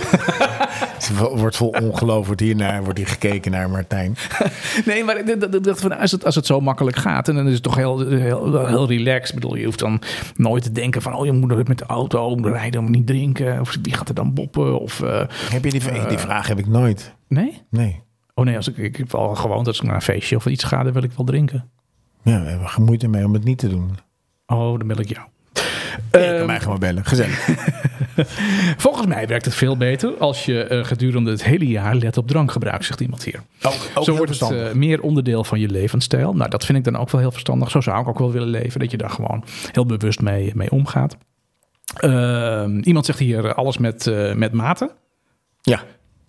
B: Het wordt vol ongeloof wordt hiernaar wordt hier gekeken naar Martijn.
A: Nee, maar ik d- d- dacht van, als het, als het zo makkelijk gaat, en dan is het toch heel, heel, heel relaxed. Ik bedoel, je hoeft dan nooit te denken van, oh, je moet met de auto oh, moet rijden, moet niet drinken. Of wie gaat er dan boppen? Of, eh,
B: Heb je die, v- die vraag heb ik nooit.
A: nee?
B: Nee.
A: Oh nee, als ik, ik heb al gewoon als ik naar een feestje of iets ga, dan wil ik wel drinken.
B: Ja, we hebben er moeite mee om het niet te doen.
A: Oh, dan bel ik jou. Ehm. Eh,
B: je kan mij gewoon bellen. Gezellig.
A: Volgens mij werkt het veel beter als je eh, gedurende het hele jaar let op drankgebruik, zegt iemand hier.
B: Ook,
A: Zo
B: ook heel
A: wordt het
B: verstandig.
A: eh, meer onderdeel van je levensstijl. Nou, dat vind ik dan ook wel heel verstandig. Zo zou ik ook wel willen leven, dat je daar gewoon heel bewust mee, mee omgaat. Ehm, iemand zegt hier eh, alles met, eh, met maten.
B: Ja.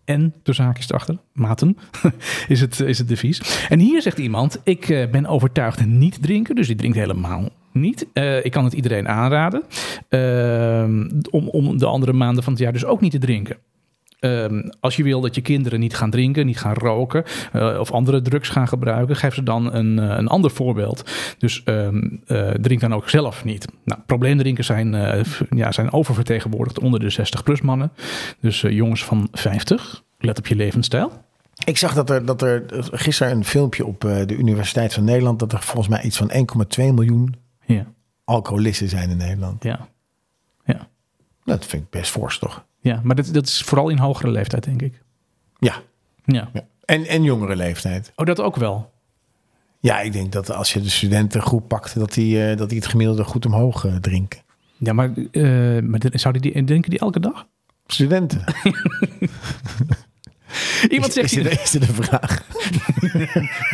A: En, de zaakjes erachter, maten, is het, is het devies. En hier zegt iemand, ik eh, ben overtuigd niet drinken, dus die drinkt helemaal niet. Eh, ik kan het iedereen aanraden ehm, om, om de andere maanden van het jaar dus ook niet te drinken. Ehm, als je wil dat je kinderen niet gaan drinken, niet gaan roken eh, of andere drugs gaan gebruiken, geef ze dan een, eh, een ander voorbeeld. Dus ehm, eh, drink dan ook zelf niet. Nou, probleemdrinkers zijn, eh, v- ja, zijn oververtegenwoordigd onder de 60-plus mannen. Dus eh, jongens van 50, let op je levensstijl.
B: Ik zag dat er, dat er gisteren een filmpje op eh, de Universiteit van Nederland... dat er volgens mij iets van 1,2 miljoen
A: Ja,
B: alcoholisten zijn in Nederland.
A: ja, ja.
B: Dat vind ik best fors, toch?
A: ja. maar dat, dat is vooral in hogere leeftijd, denk ik.
B: Ja.
A: Ja.
B: ja. En, en jongere leeftijd.
A: Oh, dat ook wel.
B: Ja, ik denk dat als je de studentengroep pakt... dat die, eh, dat die het gemiddelde goed omhoog eh, drinken.
A: Ja, maar, eh maar zouden die drinken die elke dag?
B: Studenten.
A: Iemand zegt
B: is, is,
A: hier...
B: dit, is dit een vraag?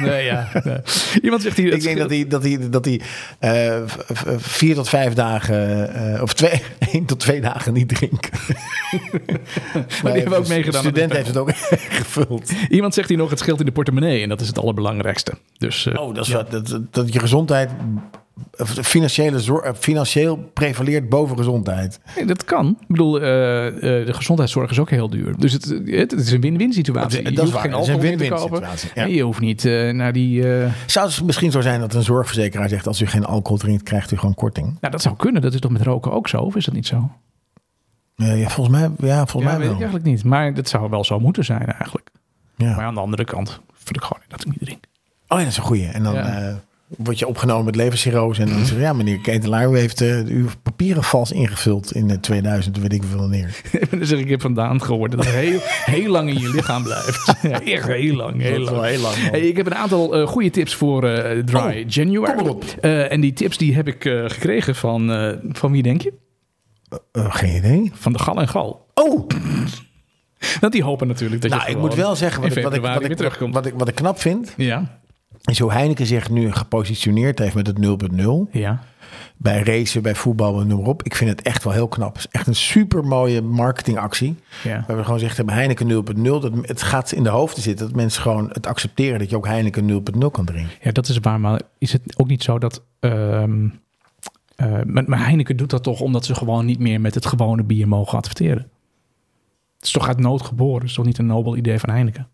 A: Nee, ja. nee. Iemand zegt hier...
B: Ik denk dat hij, dat hij, dat hij eh, v- v- vier tot vijf dagen, eh, of twee, één tot twee dagen niet drinkt.
A: Maar die hebben ook meegedaan.
B: De student
A: aan het
B: heeft het ook gevuld.
A: spel. Iemand zegt hier nog, het scheelt in de portemonnee. En dat is het allerbelangrijkste. Dus eh,
B: Oh, dat, is wat- dat, dat, dat je gezondheid, of de financiële zor- eh, financieel prevaleert boven gezondheid.
A: nee, dat kan. Ik bedoel, eh, eh, de gezondheidszorg is ook heel duur. Dus het, het, het is een win-win situatie.
B: Dat is-
A: Je
B: dat is
A: hoeft geen
B: waar. Het is een
A: alcohol meer te
B: win-win
A: kopen.
B: situatie, ja.
A: En je hoeft niet eh, naar die... eh,
B: Zou het misschien zo zijn dat een zorgverzekeraar zegt... als u geen alcohol drinkt, krijgt u gewoon korting?
A: Nou, dat zou kunnen. Dat is toch met roken ook zo? Of is dat niet zo?
B: Eh, ja, volgens mij, ja,
A: Ja,
B: volgens
A: weet
B: mij
A: ik
B: wel.
A: eigenlijk niet. Maar dat zou wel zo moeten zijn eigenlijk. Maar
B: Ja.
A: aan de andere kant vind ik gewoon dat ik niet drink.
B: Oh ja, dat is een goeie. En dan
A: Ja. Mhm.
B: eh, word je opgenomen met levercirrose. En dan zeg je, ja meneer Ketelaar, u heeft eh, uw papieren vals ingevuld in eh, 2000, weet ik veel wanneer.
A: dat is er een keer vandaan geworden. Dat het heel, heel lang in je lichaam blijft. Ja, echt heel lang, heel
B: is
A: lang.
B: wel heel lang, man.
A: Hey, ik heb een aantal eh, goede tips voor eh, Dry January.
B: kom maar op.
A: Eh, en die tips die heb ik eh, gekregen van, eh, van wie denk je?
B: Eh, geen idee.
A: Van de Gal en Gal.
B: Oh,
A: Want die hopen natuurlijk dat je
B: nou, ik
A: gewoon
B: moet wel zeggen, wat
A: in
B: ik, wat, ik,
A: februari
B: wat,
A: weer
B: ik,
A: terugkomt.
B: wat, ik, wat ik knap vind,
A: ja,
B: is hoe Heineken zich nu gepositioneerd heeft met het 0.0.
A: ja.
B: Bij racen, bij voetbal, noem maar op. Ik vind het echt wel heel knap. Het is echt een super mooie marketingactie.
A: Ja.
B: Waar we gewoon zeggen, hebben Heineken 0.0. Dat, het gaat in de hoofden zitten dat mensen gewoon het accepteren... dat je ook Heineken 0.0 kan drinken.
A: Ja, dat is waar. Maar is het ook niet zo dat. ehm, eh, maar, maar Heineken doet dat toch omdat ze gewoon niet meer met het gewone bier mogen adverteren? Het is toch uit nood geboren? Het is toch niet een nobel idee van Heineken?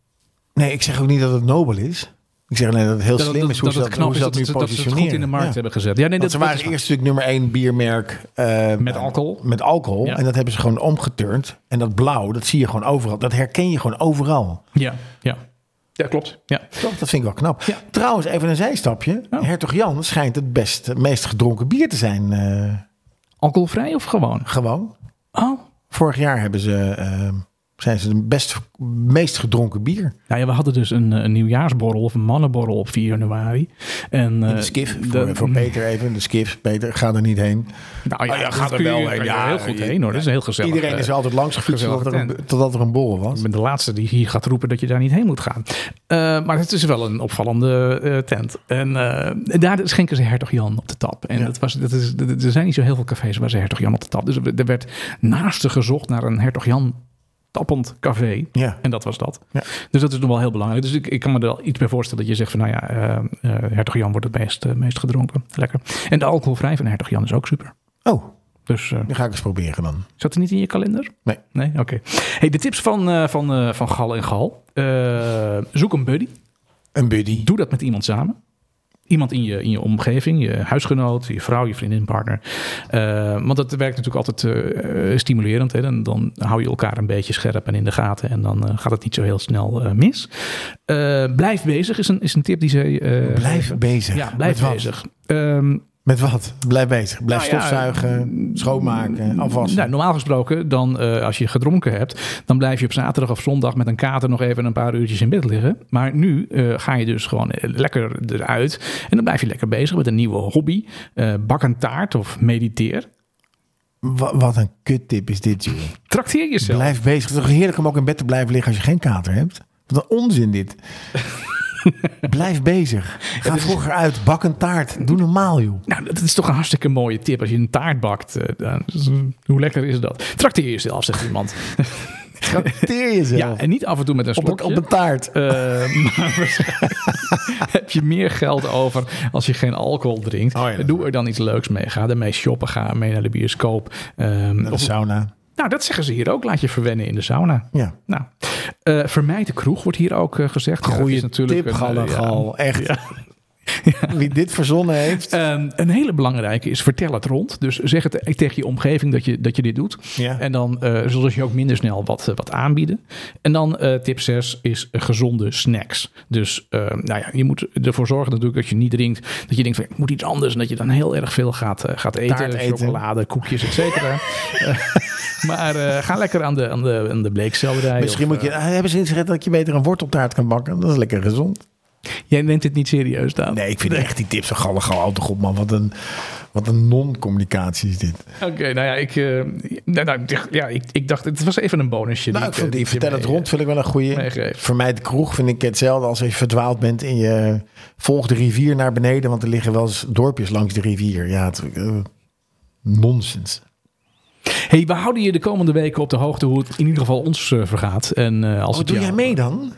B: Nee, ik zeg ook niet dat het nobel is. Ik zeg alleen dat het heel
A: Dat,
B: slim
A: dat,
B: is hoe
A: dat
B: ze
A: het
B: dat,
A: knap
B: hoe
A: is
B: ze
A: dat,
B: dat,
A: ze-
B: nu
A: dat ze het goed
B: positioneren.
A: in de markt
B: Ja.
A: hebben gezet. Ja, nee,
B: Want
A: dat,
B: ze
A: dat
B: waren
A: is
B: eerst natuurlijk nummer één biermerk. eh,
A: met alcohol.
B: Met alcohol.
A: Ja.
B: En dat hebben ze gewoon omgeturnd. En dat blauw, dat zie je gewoon overal. Dat herken je gewoon overal.
A: Ja, ja. ja klopt. Ja.
B: Toch? Dat vind ik wel knap.
A: Ja.
B: Trouwens, even een zijstapje.
A: Oh.
B: Hertog Jan schijnt het best, het meest gedronken bier te zijn. eh,
A: Alcoholvrij of gewoon?
B: gewoon.
A: Oh,
B: Vorig jaar hebben ze eh, zijn ze de best, meest gedronken bier.
A: Nou ja, we hadden dus een, eh, een nieuwjaarsborrel of een mannenborrel op 4 januari. En,
B: In
A: eh,
B: de skif,
A: de-
B: voor, voor Peter even. De skif, Peter, ga er niet heen.
A: Nou ja,
B: Oh ja,
A: dat
B: gaat er
A: kun je-
B: wel
A: kan
B: heen.
A: je
B: Ja,
A: heel goed
B: je-
A: heen hoor. Dat is heel gezellig.
B: Iedereen is
A: Eh,
B: altijd langs gefietst
A: gezellig
B: totdat er, een,
A: tent.
B: totdat er een borrel was.
A: Ik ben de laatste die hier gaat roepen dat je daar niet heen moet gaan. Eh, maar het is wel een opvallende eh, tent. En eh, daar schenken ze Hertog Jan op de tap. En
B: Ja.
A: dat was, dat is, dat- er zijn niet zo heel veel cafés waar ze Hertog Jan op de tap. Dus er werd naast gezocht naar een Hertog Jan tappend café.
B: Ja.
A: En dat was dat.
B: Ja.
A: Dus dat is nog wel heel belangrijk. Dus ik, ik kan me er al iets bij voorstellen dat je zegt van nou ja, eh eh, Hertog Jan wordt het meest, eh, meest gedronken. Lekker. En de alcoholvrij van Hertog Jan is ook super.
B: Oh,
A: Dus eh,
B: die ga ik eens proberen dan.
A: Zat er niet in je kalender?
B: Nee.
A: Nee, oké. Hey, de tips van, eh, van, eh, van Gal en Gal. Eh, zoek een buddy.
B: Een buddy.
A: Doe dat met iemand samen. Iemand in je, in je omgeving, je huisgenoot, je vrouw, je vriendin, partner. Eh, want dat werkt natuurlijk altijd eh, eh, stimulerend. Hè? Dan, dan hou je elkaar een beetje scherp en in de gaten. En dan eh, gaat het niet zo heel snel eh, mis. Eh, blijf bezig is een, is een tip die ze. eh,
B: Blijf
A: geven.
B: bezig.
A: Ja, blijf
B: Met wat?
A: bezig. Ehm,
B: Met wat? Blijf bezig. Blijf
A: Nou ja,
B: stofzuigen, schoonmaken, afwassen.
A: Nou, normaal gesproken, dan, eh, als je gedronken hebt, dan blijf je op zaterdag of zondag met een kater nog even een paar uurtjes in bed liggen. Maar nu eh, ga je dus gewoon eh, lekker eruit. En dan blijf je lekker bezig met een nieuwe hobby. Eh, bak een taart of mediteer.
B: Wa- wat een kuttip is dit, joh.
A: Trakteer jezelf.
B: Blijf bezig. Het is toch heerlijk om ook in bed te blijven liggen als je geen kater hebt? Wat een onzin dit. Blijf bezig. Ga
A: dus-
B: vroeger uit. Bak een taart. Doe normaal, joh.
A: Nou, dat is toch een hartstikke mooie tip. Als je een taart bakt, eh, dan- hoe lekker is dat? Trakteer jezelf, zegt iemand.
B: Trakteer jezelf.
A: Ja, en niet af en toe met een
B: op, een,
A: slokje.
B: op een taart.
A: Eh,
B: Ehm,
A: maar waarschijnlijk heb je meer geld over als je geen alcohol drinkt.
B: Oh ja.
A: Doe er dan iets leuks mee. Ga ermee shoppen. Ga mee naar de bioscoop. Ehm,
B: Naar de
A: of-
B: sauna.
A: nou, dat zeggen ze hier ook. Laat je verwennen in de sauna.
B: Ja.
A: Nou, eh, vermijd de kroeg wordt hier ook eh, gezegd. Ja, dat
B: Goeie
A: is natuurlijk
B: tip,
A: een, eh, ja.
B: Gallegal. Echt. Wie dit verzonnen heeft.
A: Ehm, een hele belangrijke is vertel het rond. Dus zeg het tegen je omgeving dat je, dat je dit doet.
B: Ja.
A: En dan eh zullen ze je ook minder snel wat, eh, wat aanbieden. En dan eh, tip 6 is gezonde snacks. Dus eh, nou ja, je moet ervoor zorgen natuurlijk dat je niet drinkt. Dat je denkt van ik moet iets anders. En dat je dan heel erg veel gaat, eh, gaat eten.
B: Taart eten.
A: Chocolade, koekjes, et cetera. Eh, maar eh, ga lekker aan de, aan de, aan de bleekselderij.
B: Misschien
A: of,
B: moet je...
A: eh,
B: Ah, hebben ze inzicht dat je beter een worteltaart kan bakken? Dat is lekker gezond.
A: eh, jij neemt dit niet serieus, Daan.
B: Nee, ik vind echt die tips van Gallegal. Houd toch op, man. Wat een, wat een non-communicatie is dit.
A: Oké, nou ja, ik, eh, nou, nou, ik- ja ik, ik dacht, het was even een bonusje.
B: Nou,
A: die
B: ik vond
A: eh,
B: die
A: je
B: vertel het
A: mee-
B: rond vind ik wel een goede.
A: meegeeft.
B: Voor mij de kroeg vind ik hetzelfde als als je verdwaald bent en je eh, volgt de rivier naar beneden, want er liggen wel eens dorpjes langs de rivier. Ja, het, eh, nonsens.
A: Hey, we houden je de komende weken op de hoogte hoe het in ieder geval ons eh, vergaat. En eh, als
B: Oh,
A: het
B: doe
A: jou-
B: jij mee dan?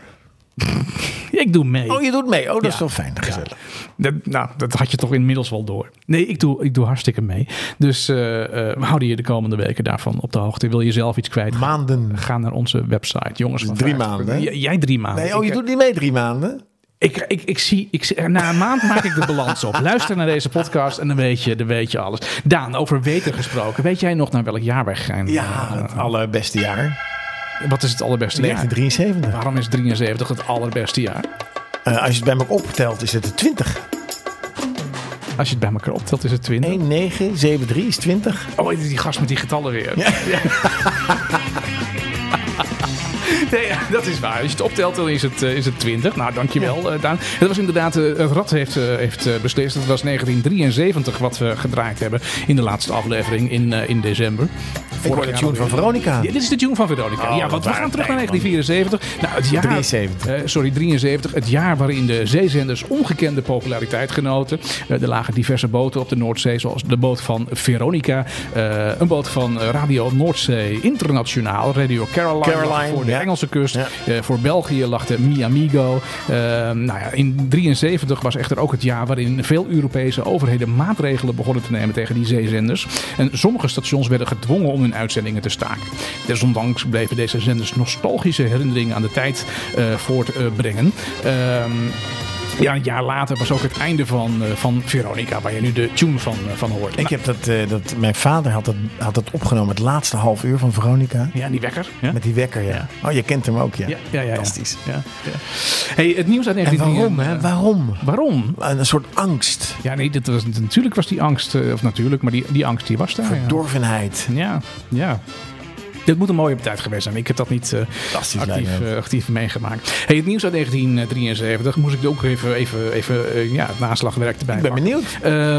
A: Ik doe mee.
B: Oh, je doet mee. Oh, dat
A: Ja.
B: is wel fijn, gezellig.
A: Dat, nou, dat had je toch inmiddels wel door. Nee, ik doe, ik doe hartstikke mee. Dus eh, eh, we houden je de komende weken daarvan op de hoogte. Wil je zelf iets kwijt?
B: Maanden.
A: Ga naar onze website, jongens. Van
B: Drie
A: 50.
B: maanden, hè?
A: J- jij drie maanden.
B: Nee, oh, je
A: ik,
B: doet niet mee drie maanden?
A: ik, ik, ik zie, ik, zie- na een maand maak ik de balans op. Luister naar deze podcast en dan weet je, dan weet je alles. Daan, over weken gesproken. Weet jij nog naar welk jaar wij gaan?
B: Ja, het allerbeste jaar.
A: Eh, Wat is het allerbeste jaar?
B: 1973.
A: Waarom is 73 het allerbeste jaar?
B: Eh, als je het bij me optelt, is het de 20.
A: Als je het bij elkaar optelt, is het 20.
B: 1973 is 20.
A: Oh, dit is die gast met die getallen weer. Ja. Nee, dat is waar. Als je het optelt, dan is het, eh, is het 20. Nou, dankjewel, eh Daan. Het was inderdaad, eh, het Rad heeft, eh, heeft eh, beslist. Het was 1973 wat we gedraaid hebben in de laatste aflevering in, eh, in december.
B: Ik hoor de
A: jaar
B: tune van Veronica.
A: Ja, dit is de tune van Veronica.
B: Oh,
A: ja,
B: dat
A: want we
B: waren
A: gaan terug naar
B: tijden,
A: 1974. Nou, het jaar,
B: 73.
A: eh, sorry, 73. Het jaar waarin de zeezenders ongekende populariteit genoten. Eh, er lagen diverse boten op de Noordzee, zoals de boot van Veronica. eh, een boot van eh, Radio Noordzee Internationaal, Radio Caroline,
B: Caroline,
A: lag voor de
B: ja.
A: Engelse kust.
B: Ja.
A: Eh, voor België lag de Miamigo. Eh, nou ja, in 73 was echter ook het jaar waarin veel Europese overheden maatregelen begonnen te nemen tegen die zeezenders. En sommige stations werden gedwongen om hun uitzendingen te staken. Desondanks bleven deze zenders nostalgische herinneringen aan de tijd eh, voortbrengen. Ehm, ja, een jaar later was ook het einde van, eh, van Veronica, waar je nu de tune van, eh, van hoort.
B: Ik heb dat, eh, dat, mijn vader had dat, had dat opgenomen, het laatste half uur van Veronica.
A: ja, die wekker. Ja,
B: Met die wekker, ja. Oh, je kent hem ook, ja.
A: ja, ja. ja, ja.
B: Fantastisch.
A: Ja, ja. Hey, het nieuws uit
B: En waarom,
A: 1993,
B: hè? Waarom?
A: eh, Waarom?
B: Een soort angst,
A: Ja, nee, dit was, natuurlijk was die angst, eh, of natuurlijk, maar die, die angst die was daar. Ja,
B: verdorvenheid.
A: ja. ja. dit moet een mooie tijd geweest zijn. Ik heb dat niet eh,
B: Fantastisch
A: actief,
B: lijkt me.
A: eh, actief memeegemaakt. Hey, het nieuws uit 1973 moest ik ook even, even, even eh, ja, het naslagwerk erbij
B: Ik ben
A: pakken.
B: benieuwd.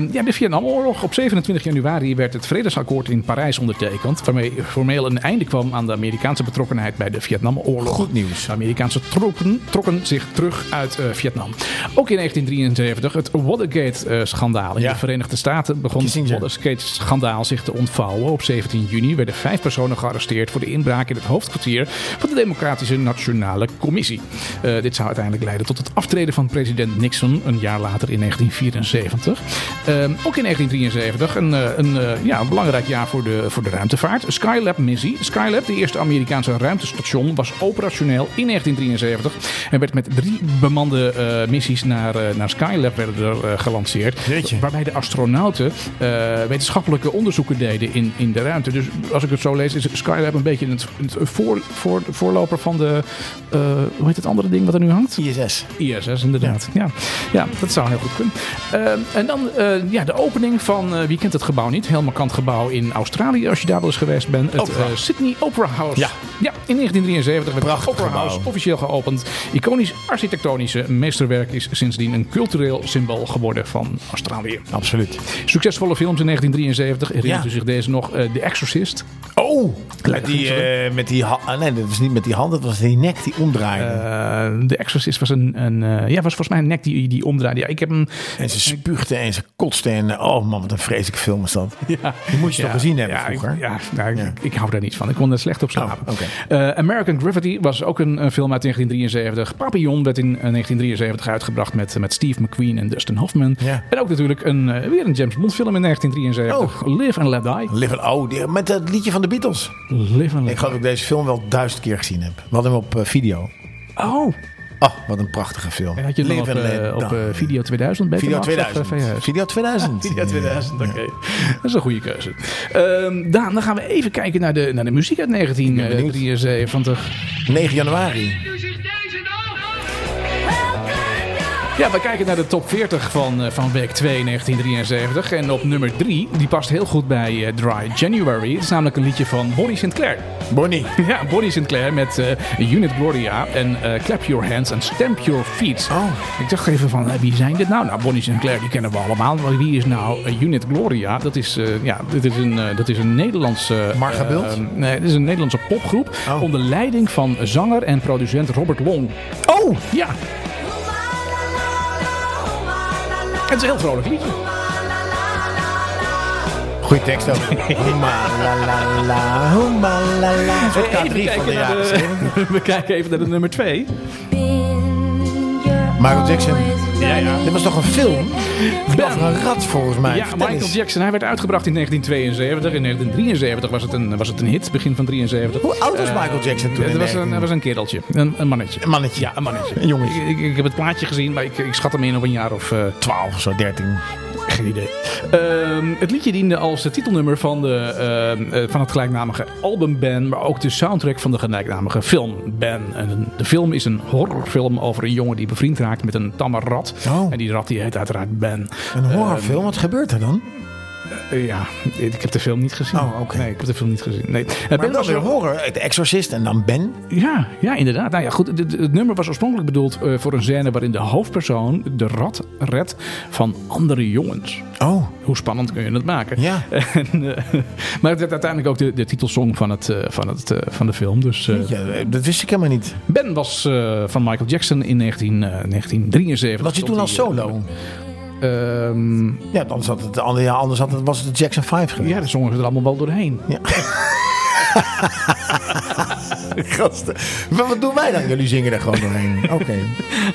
A: Eh, ja, de Vietnamoorlog. Op 27 januari werd het Vredesakkoord in Parijs ondertekend. Waarmee formeel een einde kwam aan de Amerikaanse betrokkenheid bij de Vietnamoorlog.
B: Goed nieuws.
A: De Amerikaanse troepen trokken zich terug uit eh, Vietnam. Ook in 1973 het Watergate-schandaal. in
B: Ja.
A: de Verenigde Staten begon het
B: Kissinger.
A: Watergate-schandaal zich te ontvouwen. Op 17 juni werden vijf personen gearresteerd voor de inbraak in het hoofdkwartier van de Democratische Nationale Commissie. Eh, dit zou uiteindelijk leiden tot het aftreden van president Nixon een jaar later in 1974. Ehm, ook in 1973 een, eh, een, eh, ja, een belangrijk jaar voor de, voor de ruimtevaart. Skylab-missie. Skylab, de eerste Amerikaanse ruimtestation, was operationeel in 1973 en werd met drie bemande eh, missies naar, eh, naar Skylab werden er, eh, gelanceerd.
B: Jeetje.
A: Waarbij de astronauten eh, wetenschappelijke onderzoeken deden in, in de ruimte. Dus als ik het zo lees, is Skylab een beetje het, het voor, voor, voorloper van de. eh, hoe heet het andere ding wat er nu hangt?
B: ISS.
A: ISS, inderdaad. Ja, ja dat zou heel goed kunnen. Eh, en dan eh, ja, de opening van, eh, wie kent het gebouw niet? Heel markant gebouw in Australië, als je daar wel eens geweest bent. Het
B: Opera.
A: eh, Sydney Opera House.
B: Ja.
A: in 1973 werd
B: Prachtig
A: het Opera
B: gebouw.
A: House officieel geopend. Iconisch architectonische meesterwerk is sindsdien een cultureel symbool geworden van Australië.
B: Absoluut.
A: Succesvolle films in 1973. Herinnert
B: Ja.
A: u zich deze nog? Eh, The Exorcist.
B: Oh, met
A: Lekker
B: die, eh, met die ha- ah, nee, dat was niet met die hand, dat was die nek die omdraaide.
A: Eh, The Exorcist was een, een eh, ja, was volgens mij een nek die, die omdraaide. Ja, ik heb hem
B: en ze spuugde en ze kotste en eh, oh man, wat een vreselijke film is dat.
A: Ja.
B: Die moest je toch gezien hebben
A: ja,
B: vroeger?
A: Ik, ja, nou, ik-
B: Ja.
A: Ik, ik hou daar niet van. Ik kon er slecht op slapen.
B: Oh, oké.
A: Eh, American Gravity was ook een, een film uit 1973. Papillon werd in eh, 1973 uitgebracht met, eh, met Steve McQueen en Dustin Hoffman.
B: Ja.
A: En ook natuurlijk een, eh, weer een James Bond film in 1973.
B: Oh.
A: Live and Let Die.
B: Live and- oh, die- met dat liedje van de Beatles.
A: Live and Let
B: Ik geloof dat ik deze film wel duizend keer gezien heb. We hadden hem op eh, video.
A: Die. Oh,
B: Oh, wat een prachtige film.
A: en had je hem
B: Live
A: op,
B: and
A: eh,
B: Let
A: op eh,
B: Die.
A: Video 2000? Beter
B: Video
A: nog, of, eh,
B: 2000.
A: VHS?
B: Video 2000.
A: Ja, 2000, oké. Dat is een goede keuze. Ehm, Daan, dan gaan we even kijken naar de, naar de muziek uit eh, 1973.
B: 9 januari.
C: u zich deze dag
A: Ja, we kijken naar de top 40 van, eh, van week 2 1973. En op nummer 3, die past heel goed bij eh, Dry January. Het is namelijk een liedje van Bonnie Sinclair.
B: Bonnie.
A: Ja, Bonnie Sinclair met eh, Unit Gloria en eh, Clap Your Hands en Stamp Your Feet.
B: Oh.
A: Ik dacht even van, eh, wie zijn dit nou? Nou, Bonnie Sinclair, die kennen we allemaal. Maar wie is nou eh, Unit Gloria? Dat is, eh, ja, dit is een, eh, dat is een Nederlandse... eh,
B: Marga Bult?
A: eh, nee, dit is een Nederlandse popgroep.
B: Oh.
A: Onder leiding van zanger en producent Robert Long.
B: Oh,
A: Ja, het is een heel vrolijk liedje.
B: Goeie tekst ook. Hoema la la la, hoema la la. Een soort
A: Even
B: K3 van de
A: kijken naar
B: jaren
A: de-
B: 70.
A: We kijken even naar de nummer 2.
B: Michael Jackson.
A: Ja, ja.
B: Dit was toch een film? Dat was een rat volgens mij.
A: Ja,
B: Vertel
A: Michael
B: eens.
A: Jackson. Hij werd uitgebracht in 1972. In 1973 was het een, was het een hit, begin van 73.
B: Hoe oud was
A: Eh,
B: Michael Jackson toen?
A: Het
B: in
A: was een,
B: 19?
A: het was een kereltje. Een, een mannetje.
B: Een mannetje.
A: Ja, een mannetje.
B: Een jongetje.
A: Ik, ik, ik heb het plaatje gezien, maar ik, ik schat hem in op een jaar of eh,
B: 12 of zo, 13.
A: geen idee. Ehm, het liedje diende als eh, titelnummer van, de, ehm, eh, van het gelijknamige album Ben, maar ook de soundtrack van de gelijknamige film Ben. En de film is een horrorfilm over een jongen die bevriend raakt met een tamme rat.
B: Oh.
A: En die rat die heet uiteraard Ben.
B: Een horrorfilm, wat gebeurt er dan?
A: Eh, ja, ik heb de film niet gezien.
B: Oh, oké.
A: Nee, ik heb de film niet gezien. Nee. Eh,
B: Maar
A: ben
B: dat
A: was
B: is weer
A: een-
B: horror. De Exorcist en dan Ben.
A: Ja, ja, inderdaad. Nou ja, goed, het, het- het nummer was oorspronkelijk bedoeld eh, voor een scène waarin de hoofdpersoon de rat redt van andere jongens.
B: Oh,
A: Hoe spannend kun je het maken?
B: Ja.
A: En, eh, maar het werd uiteindelijk ook de, de titelsong van, het, eh, van, het, eh, van de film. Dus eh,
B: ja, dat wist ik helemaal niet.
A: Ben was eh, van Michael Jackson in 19, eh, 1973.
B: Was hij toen al
A: Stond hij,
B: solo?
A: eh, ehm,
B: Ja, anders, had het, ander- ja, anders had het, was het de Jackson 5 geweest.
A: ja, daar zongen ze er allemaal wel doorheen.
B: gasten. Maar wat doen wij dan? Jullie zingen er gewoon doorheen. Oké.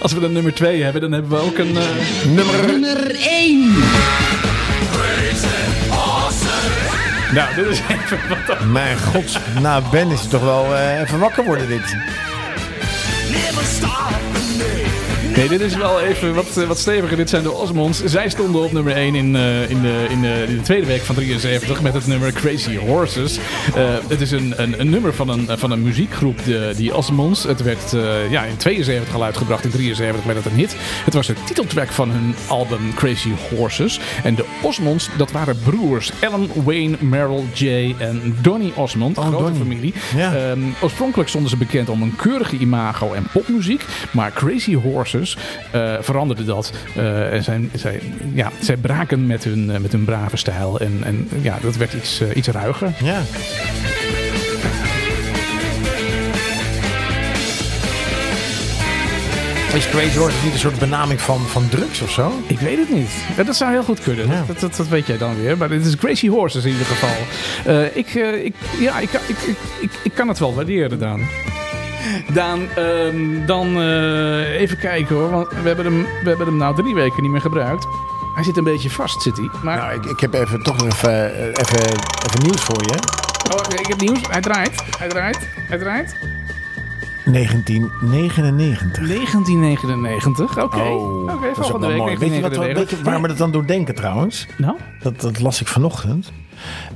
A: Als we dan nummer 2 hebben, dan hebben we ook een... eh,
B: Nummer...
D: Nummer 1.
A: Nou, dit is even wat dan.
B: Mijn god. Nou, Ben is toch wel eh, even wakker worden dit.
E: Never stop the day.
A: Nee, dit is wel even wat, eh, wat steviger. Dit zijn de Osmonds. Zij stonden op nummer 1 in, eh, in, de, in, de, in de tweede week van 73 met het nummer Crazy Horses. Eh, het is een, een, een nummer van een, van een muziekgroep, de, die Osmonds. Het werd eh, ja, in 72 al uitgebracht. In 73 werd het een hit. Het was de titeltrack van hun album Crazy Horses. En de Osmonds, dat waren broers. Alan, Wayne, Merrill, Jay en Donny Osmond.
B: Oh,
A: grote
B: Donny.
A: familie.
B: Ja.
A: Eh, Ehm, oorspronkelijk stonden ze bekend om een keurige imago en popmuziek. Maar Crazy Horses eh, veranderde dat. Eh, en zij, zij, ja, zij braken met hun, eh, met hun brave stijl. En, en ja, dat werd iets, eh, iets ruiger.
B: Ja. Is Crazy Horses niet een soort benaming van, van drugs of zo?
A: Ik weet het niet. Ja, dat zou heel goed kunnen.
B: Ja.
A: Dat, dat, dat weet jij dan weer. Maar dit is Crazy Horses in ieder geval. Eh, ik, eh, ik, ja, ik, ik, ik, ik, ik kan het wel waarderen, Daan. Daan, ehm, dan eh, even kijken hoor. Want we hebben, hem, we hebben hem nou drie weken niet meer gebruikt. Hij zit een beetje vast, zit hij. Maar
B: Nou, ik, ik heb even, toch nog even, eh, even, even nieuws voor je.
A: Oh, ik heb nieuws. Hij draait. Hij draait. Hij draait.
B: 1999.
A: 1999. Oké. Oké,
B: Oh. dat is ook
A: volgende
B: wel
A: week.
B: mooi. Weet je, wat, wel-
A: 1999.
B: weet je waar me dat dan door denken trouwens?
A: Nou?
B: Dat, dat las ik vanochtend.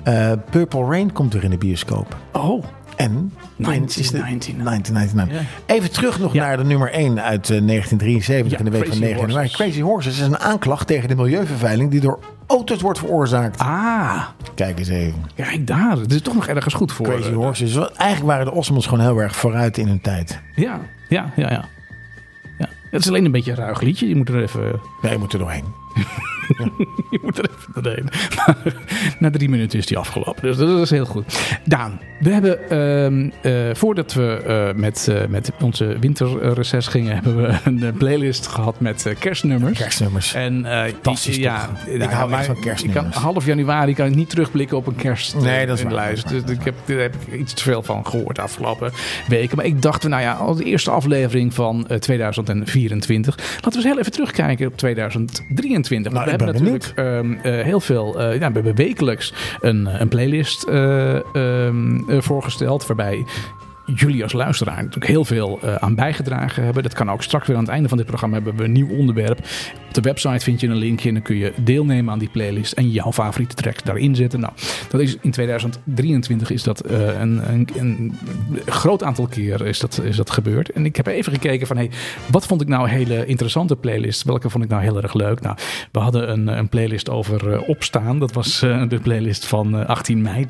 B: Eh, Purple Rain komt weer in de bioscoop.
A: Oh.
B: En Prince is de
A: 1999.
B: 1999. Even terug nog
A: Ja.
B: naar de nummer 1 uit eh, 1973
A: Ja,
B: in de week
A: Crazy
B: van 9 januari.
A: Horses.
B: Crazy Horses is een aanklacht tegen de milieuvervuiling die door auto's wordt veroorzaakt.
A: Ah.
B: Kijk eens even.
A: Kijk daar. Het is toch nog ergens goed voor.
B: Crazy
A: eh,
B: Horses. Wel, Eigenlijk waren de Osmonds gewoon heel erg vooruit in hun tijd.
A: Ja. Ja. Ja. Ja. ja. Het is alleen een beetje een ruig liedje. Je moet er even...
B: Nee, je moet er doorheen.
A: Je moet er even doorheen. Maar na drie minuten is die afgelopen. Dus dat is heel goed. Daan, we hebben ehm, eh, voordat we eh, met, eh, met onze winterreces gingen, hebben we een eh, playlist gehad met eh, kerstnummers.
B: Kerstnummers.
A: En eh,
B: Fantastisch
A: die- Ja,
B: toch?
A: nou
B: Ik hou
A: maar
B: echt van
A: ik kan,
B: kerstnummers.
A: half januari kan ik niet terugblikken op een kerst eh,
B: Nee, dat is
A: in de
B: waar,
A: lijst.
B: dat is
A: Dus
B: waar,
A: ik heb, daar heb ik iets te veel van gehoord de afgelopen weken. Maar ik dacht, nou ja, al de eerste aflevering van eh, 2024. Laten we eens heel even terugkijken op 2023.
B: Nou,
A: we
B: ik
A: hebben
B: ben
A: natuurlijk ehm, eh, heel veel. eh, ja, we hebben wekelijks een, een playlist eh, ehm, eh, voorgesteld. Waarbij jullie als luisteraar natuurlijk heel veel eh, aan bijgedragen hebben. Dat kan ook straks weer aan het einde van dit programma hebben we een nieuw onderwerp. Op de website vind je een linkje en dan kun je deelnemen aan die playlist en jouw favoriete tracks daarin zetten. Nou, dat is in 2023 is dat eh, een, een, een groot aantal keer is dat, is dat gebeurd. En ik heb even gekeken van hey, wat vond ik nou hele interessante playlists? Welke vond ik nou heel erg leuk? Nou, we hadden een, een playlist over eh, opstaan. Dat was eh, de playlist van eh, 18 mei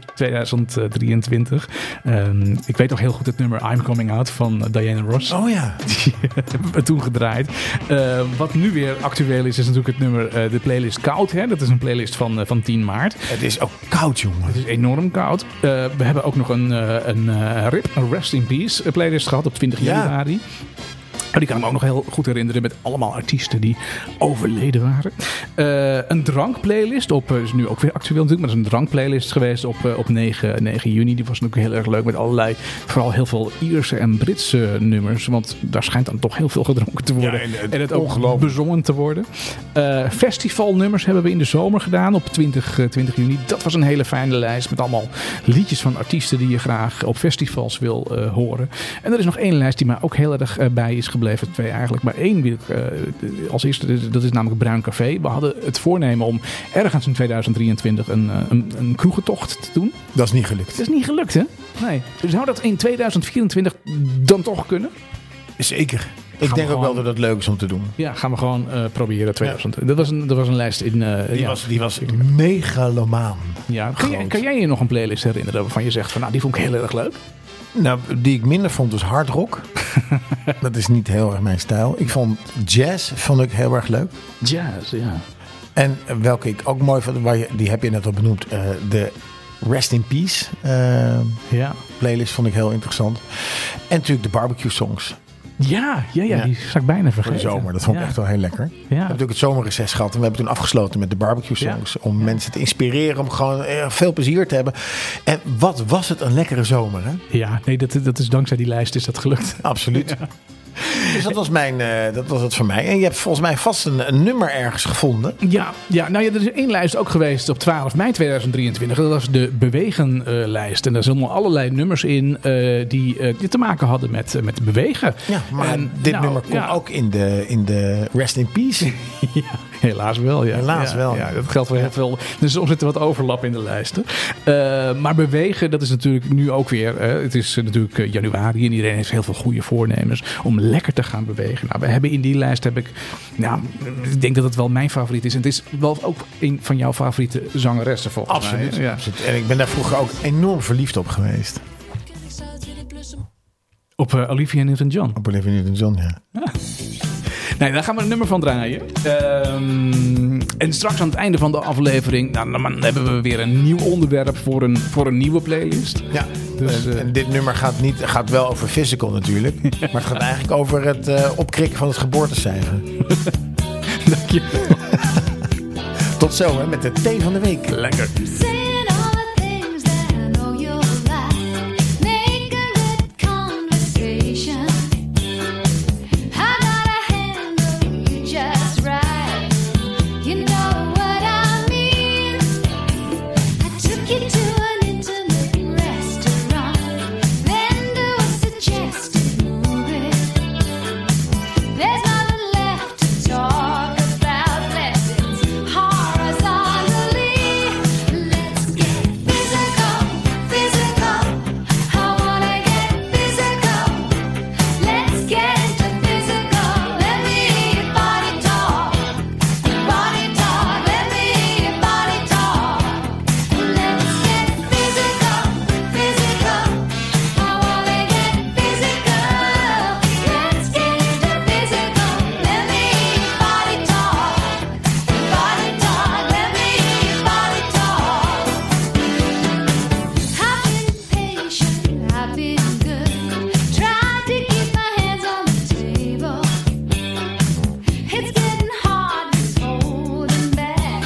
A: 2023. Ehm, ik weet nog heel goed het nummer I'm Coming Out van eh, Diana Ross.
B: Oh ja.
A: Die hebben we toen gedraaid. Eh, wat nu weer actueel is, is natuurlijk het nummer, eh, de playlist Koud. Hè? Dat is een playlist van, eh, van 10 maart.
B: Het is ook koud, jongen.
A: Het is enorm koud. Eh, we hebben ook nog een, eh, een eh, RIP, een Rest in Peace eh, playlist gehad op 20
B: Ja.
A: januari. Maar die kan ik me ook nog heel goed herinneren met allemaal artiesten die overleden waren. Eh, een drankplaylist op, eh, is nu ook weer actueel natuurlijk, maar dat is een drankplaylist geweest op, eh, op 9, 9 juni. Die was natuurlijk heel erg leuk met allerlei, vooral heel veel Ierse en Britse nummers. Want daar schijnt dan toch heel veel gedronken te worden.
B: Ja, en
A: en,
B: het-
A: het ook
B: ongelooflijk.
A: bezongen te worden. Eh, festivalnummers hebben we in de zomer gedaan op 20, eh, 20 juni. Dat was een hele fijne lijst met allemaal liedjes van artiesten die je graag op festivals wil eh, horen. En er is nog één lijst die mij ook heel erg eh, bij is gebleven. Twee eigenlijk. Maar één wil ik eh, als eerste, dat is namelijk Bruin Café. We hadden het voornemen om ergens in 2023 een, eh, een, een kroegentocht te doen.
B: Dat is niet gelukt.
A: Dat is niet gelukt hè? Nee. Zou dat in 2024 dan toch kunnen?
B: Zeker. Ik
A: Gaan
B: denk
A: we
B: ook wel
A: gewoon-
B: dat het leuk is om te doen.
A: Ja, gaan we gewoon eh, proberen. 2000. Dat, was een, dat was een lijst in... eh,
B: Die,
A: ja.
B: was, die was megalomaan.
A: Ja, kan, jij,
B: Groot.
A: kan jij je nog een playlist herinneren waarvan je zegt van nou die vond ik heel erg leuk?
B: Nou, die ik minder vond was hard rock. dat is niet heel erg mijn stijl. Ik vond jazz vond ik heel erg leuk.
A: Jazz, ja.
B: En welke ik ook mooi vond, waar je, die heb je net al benoemd, eh, de Rest in Peace eh,
A: Ja,
B: playlist vond ik heel interessant. En natuurlijk de barbecue songs
A: ja, ja, ja,
B: Ja.
A: die zag ik bijna
B: voor
A: vergeten.
B: de zomer. Dat vond ik
A: Ja,
B: echt wel heel lekker. We
A: Ja.
B: hebben natuurlijk het zomerreces gehad en we hebben toen afgesloten met de barbecue songs. Om mensen te inspireren, om gewoon eh, veel plezier te hebben. En wat was het een lekkere zomer, hè?
A: ja, nee, dat, dat is dankzij die lijst is dat gelukt.
B: Absoluut. Dus dat was, mijn, eh, dat was het voor mij. En je hebt volgens mij vast een, een nummer ergens gevonden.
A: Ja, ja, nou ja, er is één lijst ook geweest op 12 mei 2023. Dat was de Bewegen-lijst. en daar stonden allerlei nummers in eh, die, eh, die te maken hadden met, eh, met bewegen.
B: Ja, maar
A: En,
B: dit
A: nou,
B: nummer komt
A: ja.
B: ook in de, in de Rest in Peace.
A: Ja, helaas wel. Ja.
B: Helaas
A: Ja,
B: wel.
A: Ja, dat geldt voor heel veel. Dus soms zit er wat overlap in de lijsten. Eh, maar bewegen, dat is natuurlijk nu ook weer. eh, het is eh, natuurlijk eh, januari en iedereen heeft heel veel goede voornemens om lekker te gaan bewegen. Nou, we hebben in die lijst heb ik. Nou, ik denk dat het wel mijn favoriet is. En het is wel ook een van jouw favoriete zangeressen volgens
B: Absoluut.
A: mij. Ja.
B: absoluut. En ik ben daar vroeger ook enorm verliefd op geweest.
C: Ik zou het willen blussen.
A: Op eh, Olivia Newton-John.
B: Op Olivia Newton-John, ja.
A: Nee, daar gaan we een nummer van draaien. Ehm, en straks aan het einde van de aflevering nou, dan hebben we weer een nieuw onderwerp voor een, voor een nieuwe playlist.
B: Ja,
A: Dus,
B: en,
A: eh,
B: en dit nummer gaat, niet, gaat wel over physical natuurlijk. maar het gaat eigenlijk over het eh, opkrikken van het geboortecijfer.
A: Dank je.
B: Tot zo hè, met de thee van de week.
A: Lekker.
C: Saying all the things that I know you'll like. Make a good conversation. I gotta handle you just right. You know what I mean. I took you to an intimate restaurant. Then do a suggested movie. There's nothing left to talk about. Let's horizontally. Let's get physical, physical. I wanna get physical. Let's get into physical. Let me hear your body talk. Body talk. Let me hear your body talk. Let's get physical, physical. I wanna get physical. Let's get into physical. Let me hear your body talk. Body talk. Let me hear your body talk. I've been patient, I've been good. Tried to keep my hands on the table. It's getting hard, it's holding back.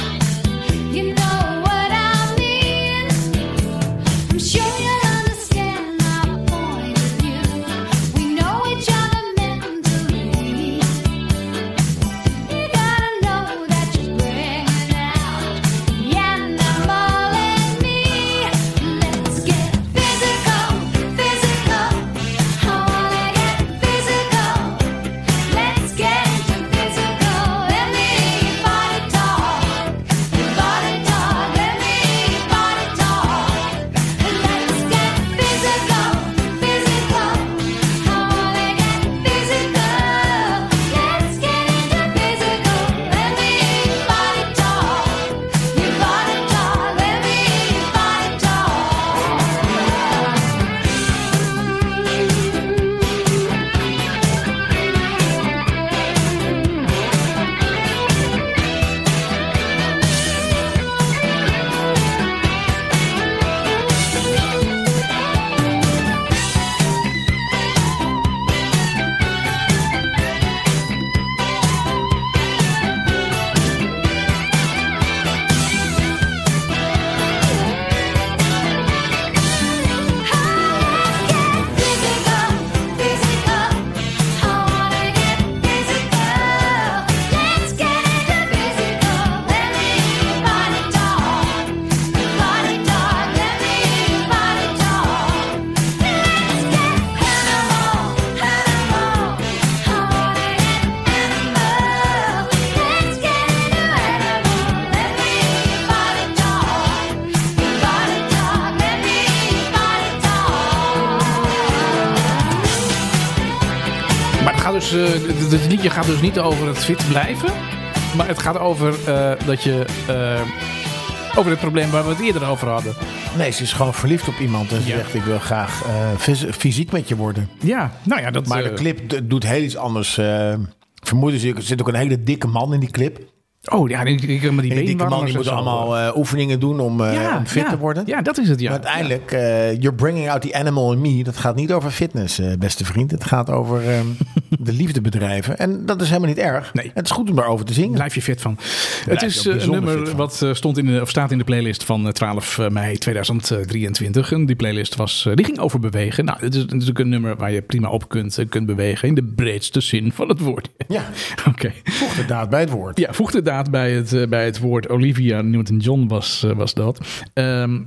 C: You know what I mean. I'm sure you'll understand my point of view. We know each other mentally. You gotta know that you're bringing out the animal in me. Let's get physical, physical. I wanna get physical. Let's get into physical. Let me hear your body talk, your body talk. Let me hear your body talk. Let's get physical, physical. I wanna get physical. Let's get into physical. Let me hear your body talk, your body talk. Let me hear your body talk. Body talk, let me hear your body talk.
A: Maar het, gaat dus, eh, d- d- het liedje gaat dus niet over het fit blijven. Maar het gaat over eh, dat je. eh, over het probleem waar we het eerder over hadden.
B: Nee, ze is gewoon verliefd op iemand en ze
A: Ja.
B: zegt ik wil graag eh, fys- fysiek met je worden.
A: Ja, nou ja, dat.
B: Maar de
A: eh,
B: clip d- doet heel iets anders. eh vermoedens, er zit ook een hele dikke man in die clip.
A: Oh ja, ik, ik, maar die
B: En die dikke man
A: beenwarmers
B: die
A: en
B: moet
A: zo.
B: allemaal eh, oefeningen doen om, eh, om fit
A: ja,
B: te worden.
A: Ja, dat is het ja.
B: Maar uiteindelijk, eh, you're bringing out the animal in me. Dat gaat niet over fitness, eh, beste vriend. Het gaat over ehm, de liefde bedrijven. En dat is helemaal niet erg.
A: Nee.
B: Het is goed om daarover te zingen.
A: Blijf je fit van. het
B: je
A: is
B: ook
A: eh, een
B: bijzonder
A: nummer
B: fit van.
A: wat eh, stond in de, of staat in de playlist van eh, 12 mei 2023. En die playlist was, eh, die ging over bewegen. Nou, het is natuurlijk een nummer waar je prima op kunt, eh, kunt bewegen. In de breedste zin van het woord.
B: Ja.
A: Oké.
B: Voegt de daad bij het woord.
A: Ja, voeg de daad bij het, eh, bij het woord Olivia Newton-John was, eh, was dat. Ehm,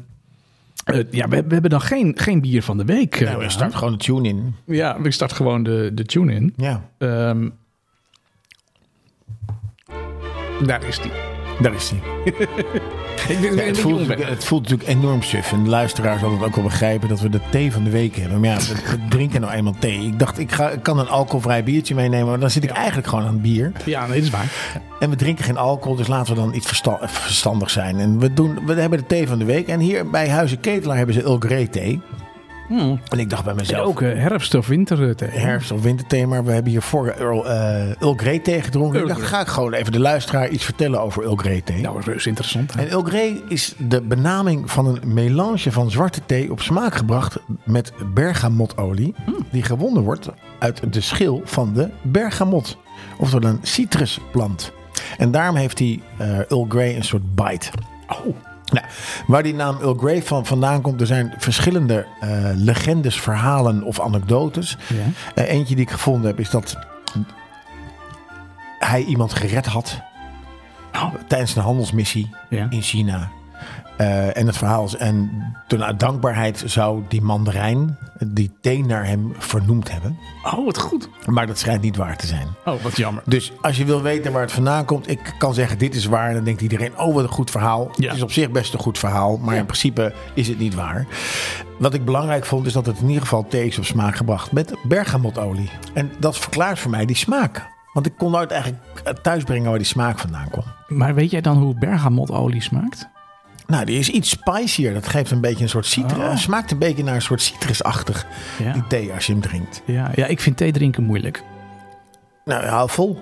A: eh, ja, we, we hebben dan geen, geen bier van de week. eh,
B: Nou, we
A: Daan.
B: start gewoon de tune in.
A: Ja, ik start gewoon de, de tune in.
B: Ja,
A: Ehm, daar is die.
B: daar is hij.
A: Ik ben- ben-
B: het,
A: ben
B: voelt,
A: jong ben.
B: het voelt natuurlijk enorm suf. En de luisteraar zal het ook wel begrijpen dat we de thee van de week hebben. Maar ja, we we drinken nou eenmaal thee. Ik dacht, ik, ga, ik kan een alcoholvrij biertje meenemen. Maar dan zit ik eigenlijk gewoon aan het bier.
A: Ja, nee, dat is waar.
B: En we drinken geen alcohol, dus laten we dan iets versta- verstandig zijn. En we, doen, we hebben de thee van de week. En hier bij Huizen Ketelaar hebben ze Earl Grey thee. En ik dacht bij
A: Hmm. En
B: mezelf,
A: ook eh, herfst of winter eh, tegen.
B: herfst- of winterthee. Maar we hebben hier vorige Earl, eh, Earl Grey thee gedronken.
A: Earl
B: ik dacht,
A: Grey.
B: ga ik gewoon even de luisteraar iets vertellen over Earl Grey thee.
A: Nou, dat is reuze interessant.
B: En Earl Grey is de benaming van een melange van zwarte thee op smaak gebracht met bergamotolie. Die gewonnen wordt uit de schil van de bergamot. Oftewel een citrusplant. En daarom heeft die eh Earl Grey een soort bite.
A: Oh,
B: Nou, waar die naam Earl Grey van vandaan komt, er zijn verschillende eh, legendes, verhalen of anekdotes. Eh, eentje die ik gevonden heb is dat hij iemand gered had
A: Oh,
B: tijdens een handelsmissie
A: Ja.
B: in China. Eh, en het verhaal is, en toen uit dankbaarheid zou die mandarijn die thee naar hem vernoemd hebben.
A: oh, wat goed.
B: Maar dat schijnt niet waar te zijn.
A: Oh, wat jammer.
B: Dus als je wil weten waar het vandaan komt, ik kan zeggen dit is waar. En dan denkt iedereen, oh wat een goed verhaal.
A: Ja.
B: Het is op zich best een goed verhaal, maar in principe is het niet waar. Wat ik belangrijk vond is dat het in ieder geval thee is op smaak gebracht met bergamotolie. En dat verklaart voor mij die smaak. Want ik kon nooit eigenlijk thuisbrengen waar die smaak vandaan kwam.
A: Maar weet jij dan hoe bergamotolie smaakt?
B: Nou, die is iets spicier. Dat geeft een beetje een soort citrus.
A: Oh.
B: eh, Smaakt een beetje naar een soort citrusachtig.
A: Ja.
B: Die thee als je hem drinkt.
A: Ja, ja, ik vind thee drinken moeilijk.
B: Nou, hou vol.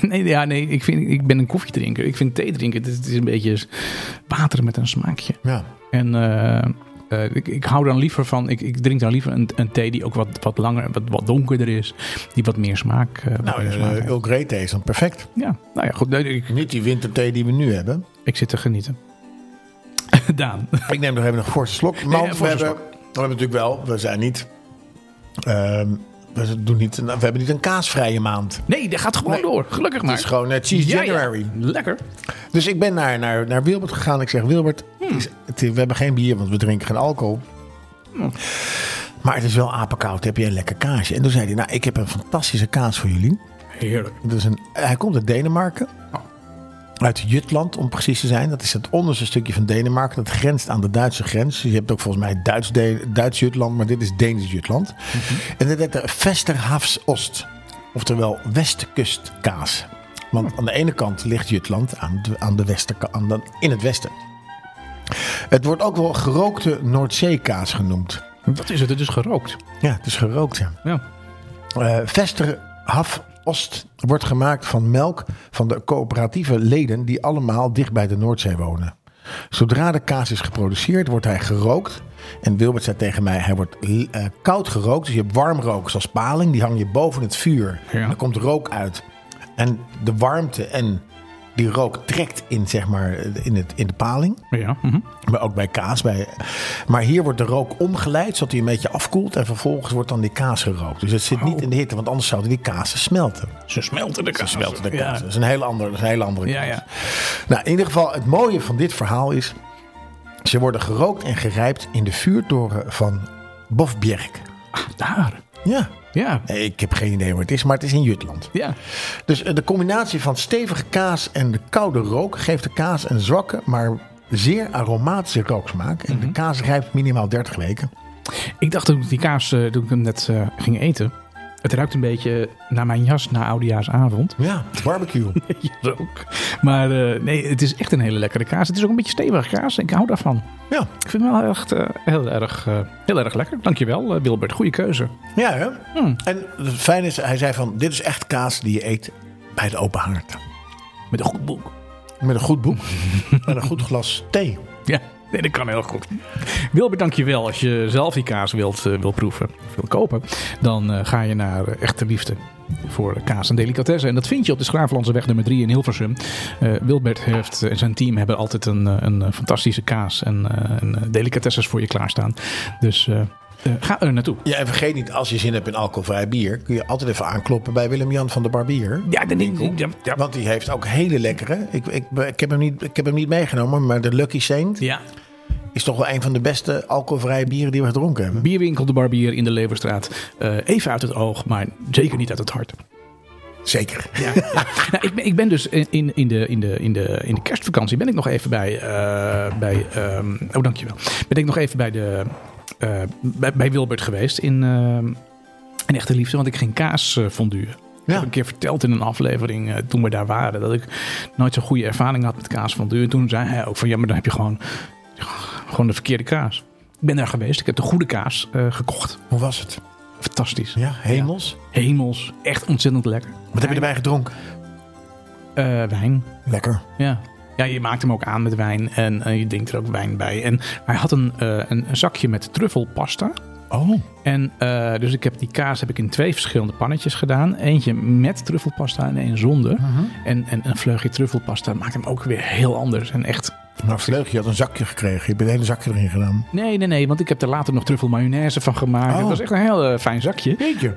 A: Nee, ja, nee ik, vind, ik ben een koffiedrinker. Ik vind thee drinken, het is, het is een beetje water met een smaakje.
B: Ja.
A: En eh, eh, ik, ik hou dan liever van, ik, ik drink dan liever een, een thee die ook wat, wat langer, wat, wat donkerder is. Die wat meer smaak, eh, wat
B: Nou,
A: meer
B: eh,
A: smaak heeft.
B: Earl Grey thee is dan perfect.
A: Ja, nou ja, goed. nee, ik,
B: Niet die winterthee die we nu hebben.
A: ik zit te genieten. Daan.
B: Ik neem nog even een forse slok. Maar
A: ja,
B: we,
A: forse
B: hebben, we hebben natuurlijk wel, we zijn niet... ehm, we, doen niet we hebben niet een kaasvrije maand.
A: Nee, dat gaat gewoon
B: Nee.
A: door. Gelukkig maar.
B: Het is gewoon eh, Cheese
A: Ja, ja.
B: January.
A: Lekker.
B: Dus ik ben naar, naar, naar Wilbert gegaan. Ik zeg, Wilbert, het is- het is- we hebben geen bier, want we drinken geen alcohol. Maar het is wel apenkoud. Heb je een lekker kaasje? En toen zei hij, nou, ik heb een fantastische kaas voor jullie.
A: Heerlijk.
B: Dat is een, hij komt uit Denemarken. Uit Jutland, om precies te zijn. Dat is het onderste stukje van Denemarken. Dat grenst aan de Duitse grens. Dus je hebt ook volgens mij Duits, De- Duits Jutland, maar dit is Deens Jutland. En dat heet de Vesterhavsost. Oftewel westkustkaas. Want aan de ene kant ligt Jutland aan de, aan de westerka- aan de, in het westen. Het wordt ook wel gerookte Noordzeekaas genoemd.
A: Dat is het, het is gerookt.
B: Ja, het is gerookt, ja.
A: Ja.
B: Eh Vesterhaf Ost wordt gemaakt van melk van de coöperatieve leden die allemaal dicht bij de Noordzee wonen. Zodra de kaas is geproduceerd, wordt hij gerookt. En Wilbert zei tegen mij, hij wordt l- eh, koud gerookt. Dus je hebt warm rook, zoals paling. Die hang je boven het vuur.
A: Ja.
B: En er komt rook uit. En de warmte en die rook trekt in, zeg maar, in, het, in de paling.
A: Ja. mhm.
B: Maar ook bij kaas. Bij, maar hier wordt de rook omgeleid, zodat hij een beetje afkoelt. En vervolgens wordt dan die kaas gerookt. Dus het zit niet in de hitte, want anders zouden die kazen smelten.
A: Ze smelten de kaas. Ze
B: Smelten de kaas.
A: Ja.
B: Dat is een hele andere, dat is een hele andere kaas.
A: Ja, ja.
B: Nou, in ieder geval, het mooie van dit verhaal is... ze worden gerookt en gerijpt in de vuurtoren van Bofbjerk.
A: Ah, daar.
B: Ja,
A: Ja.
B: Nee, ik heb geen idee waar het is, maar het is in Jutland.
A: Ja.
B: Dus eh, de combinatie van stevige kaas en de koude rook geeft de kaas een zwakke, maar zeer aromatische rooksmaak. En de kaas rijpt minimaal 30 weken.
A: Ik dacht toen ik die kaas, eh, toen ik hem net eh, ging eten. Het ruikt een beetje naar mijn jas na oudejaarsavond.
B: Ja, barbecue.
A: Ja, ook. Maar eh, nee, het is echt een hele lekkere kaas. Het is ook een beetje stevige kaas. Ik hou daarvan.
B: ja.
A: Ik vind hem wel echt eh, heel, erg, eh, heel erg lekker. Dankjewel, eh, Wilbert. Goede keuze.
B: ja, hè? En het fijne is, hij zei van, dit is echt kaas die je eet bij de open haard.
A: Met een goed boek.
B: Met een goed boek en een goed glas thee.
A: Ja, nee, dat kan heel goed. Wilbert, dankjewel. Als je zelf die kaas wilt, eh, wilt proeven of wil kopen, dan eh, ga je naar eh, Echte Liefde. voor kaas en delicatessen. En dat vind je op de Schravenlandseweg nummer 3 in Hilversum. Eh, Wilbert heeft, en zijn team hebben altijd een, eh, een eh, fantastische kaas en, eh, en eh, delicatessens voor je klaarstaan. Dus eh, eh, ga er naartoe.
B: Ja, en vergeet niet, als je zin hebt in alcoholvrij bier, kun je altijd even aankloppen bij Willem-Jan van de Barbier.
A: Ja, dat denk ik. Ja, ja.
B: Want die heeft ook hele lekkere. Ik, ik, ik, heb hem niet, ik heb hem niet meegenomen, maar de Lucky Saint
A: ja.
B: is toch wel een van de beste alcoholvrije bieren die we gedronken hebben.
A: Bierwinkel De Barbier in de Leverstraat. Eh, even uit het oog, maar zeker niet uit het hart.
B: Zeker.
A: Ja, ja. Nou, ik, ben, ik ben dus in, in, de, in, de, in, de, in de kerstvakantie ben ik nog even bij. eh bij ehm, oh, dankjewel. Ben ik nog even bij, de, eh, bij, bij Wilbert geweest in, ehm in Echte Liefde, want ik ging kaas eh, fonduren. Ik
B: Ja.
A: heb een keer verteld in een aflevering eh, toen we daar waren dat ik nooit zo'n goede ervaring had met kaas fonduren. En toen zei hij ook van ja, maar dan heb je gewoon, gewoon de verkeerde kaas. Ik ben daar geweest, ik heb de goede kaas eh, gekocht.
B: Hoe was het?
A: Fantastisch.
B: Ja, hemels.
A: Hemels, echt ontzettend lekker.
B: Wat heb je erbij gedronken?
A: Eh, wijn.
B: Lekker.
A: Ja. Ja, je maakt hem ook aan met wijn en eh, je drinkt er ook wijn bij. En hij had een, eh, een een zakje met truffelpasta.
B: Oh.
A: En eh, dus ik heb die kaas heb ik in twee verschillende pannetjes gedaan. Eentje met truffelpasta en één zonder. En, en een vleugje truffelpasta maakt hem ook weer heel anders. En echt...
B: Nou, Vleug, je had een zakje gekregen. Je hebt een hele zakje erin gedaan.
A: Nee, nee, nee, want ik heb er later nog truffelmayonaise van gemaakt.
B: Oh.
A: Het was echt een heel eh, fijn zakje.
B: Jeetje.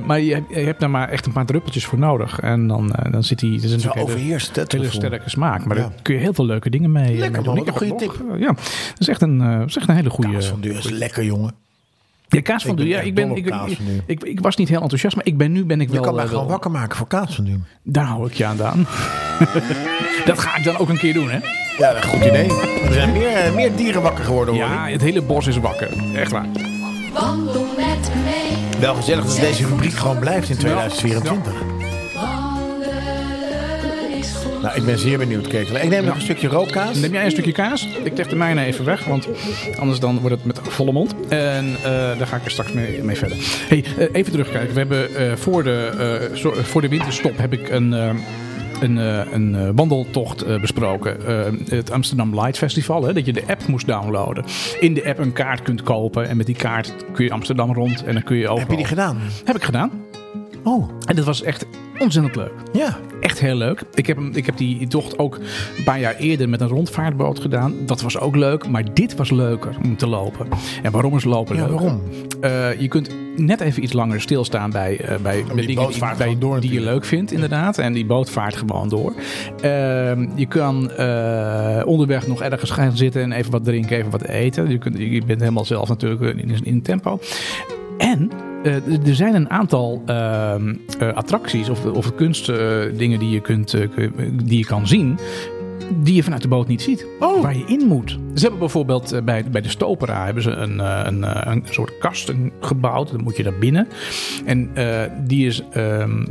A: Eh, maar je, je hebt daar maar echt een paar druppeltjes voor nodig. En dan, eh, dan zit hij... Het is
B: Zo
A: natuurlijk hele-
B: overheerst het
A: hele
B: gevoel.
A: sterke smaak. Maar
B: Ja.
A: daar kun je heel veel leuke dingen mee, eh,
B: Lekker,
A: mee
B: man.
A: doen. Ik
B: Wat
A: heb
B: een goede
A: nog, eh, Ja, dat is echt een, eh, dat is echt een hele goede...
B: Kaas van Deur is lekker, jongen.
A: Ja, kaas van
B: Ik ben
A: Ja,
B: echt
A: ik, ben,
B: dol op
A: ik,
B: kaas
A: ik,
B: van Duur.
A: ik, ik was niet heel enthousiast, maar ik ben nu ben ik
B: Je
A: wel...
B: kan mij
A: eh,
B: gewoon
A: wel-
B: wakker maken voor kaas van Deur.
A: Daar hou ik je aan, Daan. dat ga ik dan ook een keer doen, hè?
B: Ja, dat is een goed idee. Er zijn meer, eh, meer dieren wakker geworden, hoor.
A: Ja, het hele bos is wakker. Echt waar.
C: Wandel met mij,
B: Wel gezellig dat deze rubriek gewoon blijft in 2024.
C: wandelen is goed.
B: Nou, ik ben zeer benieuwd, Kees. Ik neem nog een stukje rookkaas.
A: Neem jij een stukje kaas? Ik leg de mijne even weg, want anders dan wordt het met volle mond. En eh, daar ga ik er straks mee, mee verder. Hey, eh, even terugkijken. We hebben eh, voor, de, eh, zo- voor de winterstop heb ik een... eh, een, eh, een eh, wandeltocht eh, besproken. Eh, het Amsterdam Light Festival. Hè, dat je de app moest downloaden. In de app een kaart kunt kopen. En met die kaart kun je Amsterdam rond. En dan kun je ook.
B: Heb je die gedaan?
A: Heb ik gedaan.
B: Oh,
A: En dat was echt ontzettend leuk.
B: ja.
A: Echt heel leuk. Ik heb, hem- ik heb die tocht ook een paar jaar eerder met een rondvaartboot gedaan. Dat was ook leuk, maar dit was leuker om te lopen. En waarom is lopen
B: Ja,
A: leuk?
B: waarom?
A: je kunt net even iets langer stilstaan bij, eh, bij, bij dingen die,
B: bootvaart
A: bij-
B: gewoon door
A: die je
B: natuurlijk.
A: leuk vindt, inderdaad. En die boot vaart gewoon door. Ehm, je kan eh, onderweg nog ergens gaan zitten en even wat drinken, even wat eten. Je, kunt, je bent helemaal zelf natuurlijk eh, in, in tempo. En eh, d- er zijn een aantal ehm, eh, attracties of, of kunstdingen die, je kunt, eh, kun- die je kan zien. Die je vanuit de boot niet ziet. Waar je in moet. Oh. Ze hebben bijvoorbeeld eh, bij, bij de Stopera hebben ze een, eh, een, eh, een soort kast een- gebouwd. Dan moet je daar binnen. En eh, die is. ehm,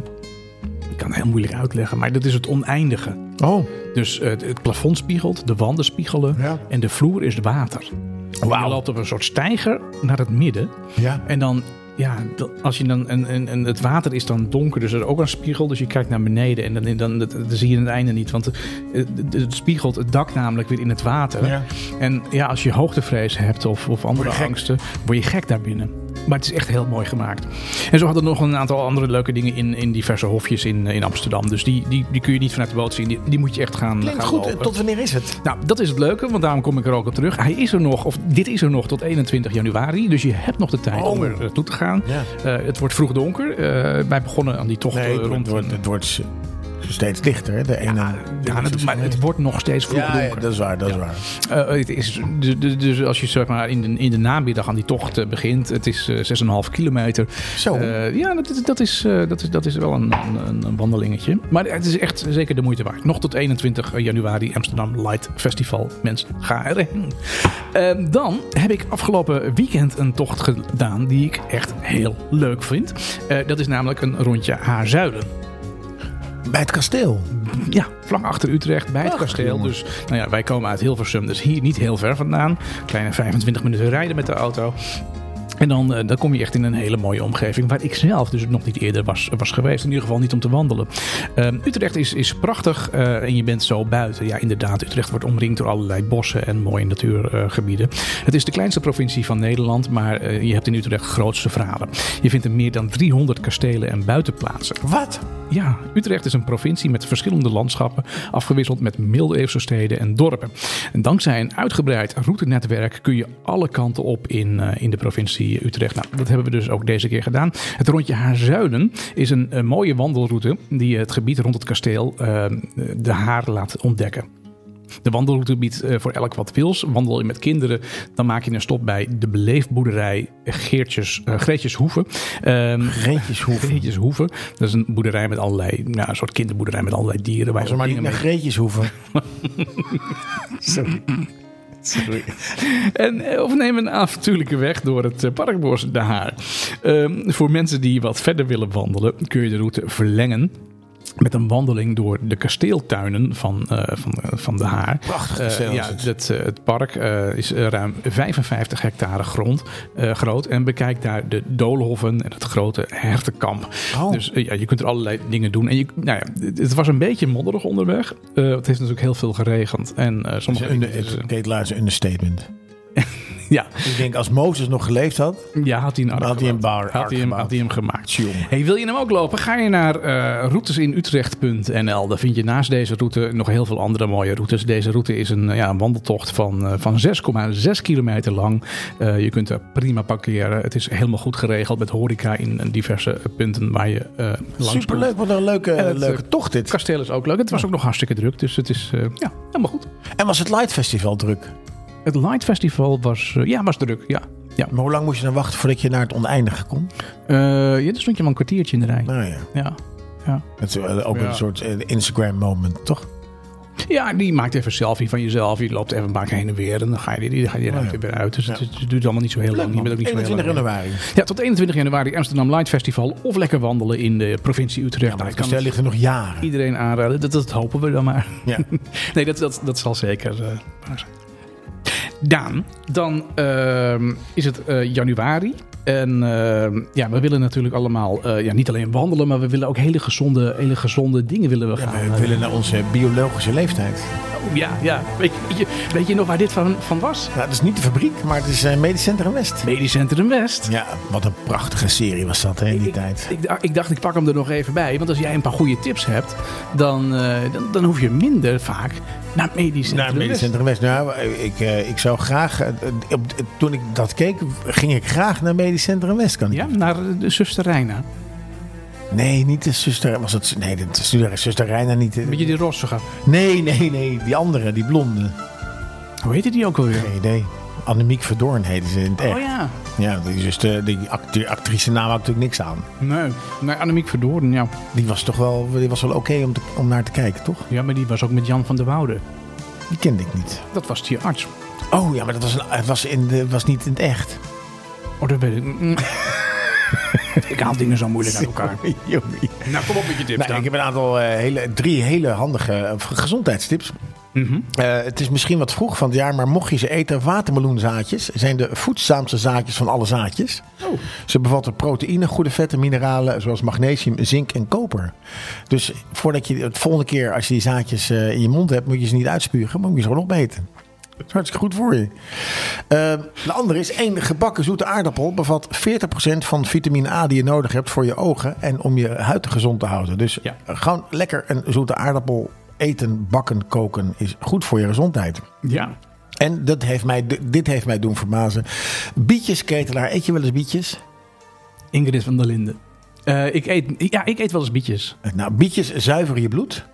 A: ik kan het heel moeilijk uitleggen, maar dat is het oneindige.
B: Oh,
A: Dus eh, het, het plafond spiegelt, de wanden spiegelen
B: Ja.
A: en de vloer is water. En Je
B: wauw.
A: loopt op een soort steiger naar het midden.
B: Ja.
A: En dan, ja, dat- als je dan, en, en, en het water is dan donker, dus er is ook een spiegel. Dus je kijkt naar beneden en dan, dan, dat- dat zie je het einde niet. Want het, het- het spiegelt het dak namelijk weer in het water.
B: Ja.
A: En ja, als je hoogtevrees hebt of, of andere
B: Word je gek.
A: angsten, word je gek daarbinnen. Maar het is echt heel mooi gemaakt. En zo hadden we nog een aantal andere leuke dingen in, in diverse hofjes in, eh, in Amsterdam. Dus die, die, die kun je niet vanuit de boot zien. Die, die moet je echt gaan,
B: Klinkt
A: gaan
B: goed.
A: lopen.
B: Tot wanneer is het?
A: Nou, dat is het leuke, want daarom kom ik er ook op terug. Hij is er nog, of dit is er nog tot 21 januari. Dus je hebt nog de tijd om er naartoe te gaan.
B: Oh. Ja.
A: Eh, het wordt vroeg donker. Eh, wij begonnen aan die tocht eh,
B: Nee, het
A: rond.
B: wordt, het wordt s- steeds lichter. hè. De ene,
A: ja, dat- maar het wordt nog steeds vroeg
B: ja,
A: donker.
B: ja, dat is waar, dat is waar.
A: Eh, het is, dus, dus- dus als je zeg maar, in, de, in de namiddag aan die tocht eh, begint, het is eh, 6,5 kilometer.
B: Zo.
A: Eh, ja, dat, is- dat, is, eh, dat, is, dat is wel een, een, een wandelingetje. Maar het is echt zeker de moeite waard. Nog tot 21 januari Amsterdam Light Festival. Mensen, ga erheen. Eh, dan heb ik afgelopen weekend een tocht gedaan die ik echt heel leuk vind. Eh, dat is namelijk een rondje Haarzuilen.
B: Bij het kasteel.
A: Ja, vlak achter Utrecht, bij het
B: Ach,
A: kasteel.
B: jongen.
A: Dus nou ja, wij komen uit Hilversum, dus hier niet heel ver vandaan. Kleine 25 minuten rijden met de auto. En dan, eh, dan kom je echt in een hele mooie omgeving waar ik zelf dus nog niet eerder was, was geweest. In ieder geval niet om te wandelen. Ehm, Utrecht is, is prachtig eh, en je bent zo buiten. Ja, inderdaad, Utrecht wordt omringd door allerlei bossen en mooie natuurgebieden. het is de kleinste provincie van Nederland, maar eh, je hebt in Utrecht grootste verhalen. Je vindt er meer dan 300 kastelen en buitenplaatsen.
B: Wat?
A: Ja, Utrecht is een provincie met verschillende landschappen, afgewisseld met middeleeuwse steden en dorpen. En dankzij een uitgebreid routenetwerk kun je alle kanten op in, eh, in de provincie Utrecht. Nou, dat hebben we dus ook deze keer gedaan. Het rondje Haarzuilen is een, eh, mooie wandelroute die het gebied rond het kasteel eh, de Haar laat ontdekken. De wandelroute biedt eh, voor elk wat wils. Wandel je met kinderen, dan maak je een stop bij de beleefboerderij Geertjes, eh, Greetjeshoeven. Ehm,
B: Greetjeshoeven.
A: Greetjeshoeven. Dat is een boerderij met allerlei, nou, een soort kinderboerderij met allerlei dieren. Waar
B: Als we maar niet
A: dingen
B: naar
A: mee-
B: Greetjes hoeven.
A: En, eh, of neem een avontuurlijke weg door het eh, parkbos De Haar. Ehm, voor mensen die wat verder willen wandelen, kun je de route verlengen. Met een wandeling door de kasteeltuinen van, eh, van, eh, van De Haar.
B: Prachtig
A: Eh,
B: kasteel is
A: ja,
B: het.
A: het, eh, het park eh, is eh, ruim 55 hectare grond eh, groot. En bekijkt daar de doolhoffen en het grote hertenkamp.
B: Oh.
A: Dus eh, ja, je kunt er allerlei dingen doen. En je, nou ja, het- het was een beetje modderig onderweg. Eh, het heeft natuurlijk heel veel geregend. En eh sommige
B: Een
A: dingen- dus, eh,
B: is een understatement.
A: ja,
B: Ik denk, als Mozes nog geleefd had...
A: Ja, had hij een ark
B: Had hij een
A: gebouwd.
B: bar-
A: had
B: ark
A: hij hem,
B: gebouwd.
A: had hij hem gemaakt.
B: Tjonge.
A: Hey, wil je hem ook lopen? Ga je naar eh, routesininutrecht.nl. Daar vind je naast deze route nog heel veel andere mooie routes. Deze route is een, eh, ja, een wandeltocht van, eh, van 6,6 kilometer lang. Eh, je kunt er prima parkeren. Het is helemaal goed geregeld met horeca in, eh, diverse eh, punten waar je eh langs komt.
B: Superleuk, wat een leuke,
A: het,
B: leuke
A: eh, Het
B: tocht dit.
A: kasteel is ook leuk. Het was ook nog hartstikke druk. Dus het is eh, ja, helemaal goed.
B: En was het Light Festival druk?
A: Het Light Festival was, eh, ja, was druk. Ja. Ja.
B: Maar hoe lang moest je dan wachten voordat je naar het oneindige kon?
A: Eh ja, dus stond je maar een kwartiertje in de rij.
B: Nou ja,
A: Ja. Ja.
B: het is eh, ook
A: Ja.
B: een soort eh, Instagram-moment, toch?
A: Ja, die maakt even een selfie van jezelf. Je loopt even een paar keer heen en weer. En dan ga je die, die, ga je
B: Oh
A: die ruimte weer uit. Dus het, het duurt allemaal niet zo heel lang. Je bent ook niet zo heel
B: 21
A: lang weg.
B: januari.
A: Ja, tot 21 januari Amsterdam Light Festival. Of lekker wandelen in de provincie Utrecht.
B: Maar
A: Nou,
B: het
A: ik kan
B: kasteel
A: het
B: ligt er nog jaren.
A: iedereen aanraden. Dat, dat hopen we dan maar.
B: Ja.
A: Nee, dat, dat, dat zal zeker eh, waar zijn. Daan, dan ehm, is het eh, januari. En ehm, ja, we willen natuurlijk allemaal eh, ja, niet alleen wandelen, maar we willen ook hele gezonde, hele gezonde dingen willen we gaan.
B: We
A: eh,
B: willen naar onze biologische leeftijd.
A: Oh, Ja, ja. Weet je, weet je, weet je nog waar dit van, van was?
B: Nou, het is niet de fabriek, maar het is eh, Medisch Centrum West.
A: Medisch Centrum West.
B: Ja, wat een prachtige serie was dat hè, in die
A: ik,
B: tijd.
A: Ik, dacht- ik dacht, ik pak hem er nog even bij. Want als jij een paar goede tips hebt, dan, eh, dan, dan hoef je minder vaak naar Medisch Centrum
B: Naar het Medisch
A: West.
B: Centrum West. Nou, ik, eh, ik zou graag... eh, op, toen ik dat keek, ging ik graag naar Medisch Centrum West. Kan ik
A: Ja, naar eh, de zuster Reina.
B: Nee, niet de zuster. Was het, nee, de zuster, zuster Reina niet. eh.
A: Beetje die rossige.
B: Nee, nee, nee. Die andere, die blonde.
A: Hoe heette die ook alweer?
B: Geen idee. Annemiek Verdoorn heette ze in het echt.
A: Oh ja.
B: Ja, die, zuster, die acte- actrice naam had natuurlijk niks aan.
A: Nee, nee Annemiek Verdoorn, ja.
B: Die was toch wel, die was wel oké om, te- om naar te kijken, toch?
A: Ja, maar die was ook met Jan van der Woude.
B: Die kende ik niet.
A: Dat was die arts.
B: Oh ja, maar dat was, een, het was, in de, was niet in het echt.
A: Oh, dat weet ik. Mm. ik haal dingen zo moeilijk uit elkaar.
B: Jommie.
A: Nou, kom op met je tips
B: Nou, ik heb een aantal, eh, hele, drie hele handige eh, gezondheidstips.
A: Mhm.
B: Eh, het is misschien wat vroeg van het jaar, maar mocht je ze eten, watermeloenzaadjes zijn de voedzaamste zaadjes van alle zaadjes.
A: Oh.
B: Ze bevatten proteïne, goede vetten, mineralen zoals magnesium, zink en koper. Dus voordat je het volgende keer als je die zaadjes eh, in je mond hebt, moet je ze niet uitspugen, maar moet je ze gewoon opeten. Dat is hartstikke goed voor je. Eh, de andere is één gebakken zoete aardappel bevat 40% van vitamine A die je nodig hebt voor je ogen en om je huid gezond te houden. Dus
A: Ja.
B: gewoon lekker een zoete aardappel eten, bakken, koken is goed voor je gezondheid.
A: Ja.
B: En dat heeft mij, dit heeft mij doen verbazen. Bietjesketelaar, eet je wel eens bietjes?
A: Ingrid van der Linden. Eh, ik, eet, ja, ik eet wel eens bietjes.
B: Nou, bietjes zuiveren je bloed.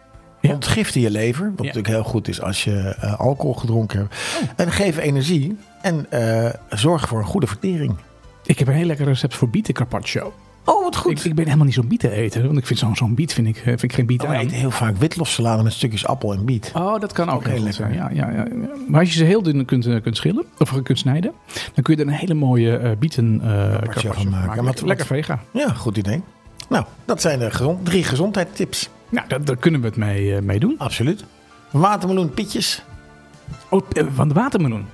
A: Ja.
B: Ontgiften je lever. Wat natuurlijk heel goed is als je eh, alcohol gedronken hebt.
A: Oh.
B: En geven energie. En eh zorgen voor een goede vertering.
A: Ik heb een heel lekker recept voor bieten carpaccio.
B: Oh, wat
A: Ik, ik ben helemaal niet zo'n bieteneter. Want ik vind zo'n zo'n biet vind ik, eh, vind ik geen biet
B: Oh, wij
A: aan.
B: eten heel vaak witlofsalade met stukjes appel en biet.
A: Oh, dat kan ook
B: heel
A: heel goed
B: lekker.
A: zijn. Ja, ja, ja. ja. Maar als je ze heel dun kunt, eh, kunt schillen, of kunt snijden, dan kun je er een hele mooie eh, bieten eh carpaccio
B: van
A: van
B: maken.
A: maken.
B: En wat-
A: Lekker, lekker vega.
B: Ja, goed idee. Nou, dat zijn de gezond, drie gezondheidstips.
A: Nou, daar, daar kunnen we het mee, eh, mee doen.
B: Absoluut. Watermeloen, pietjes.
A: Oh, eh, van de watermeloen.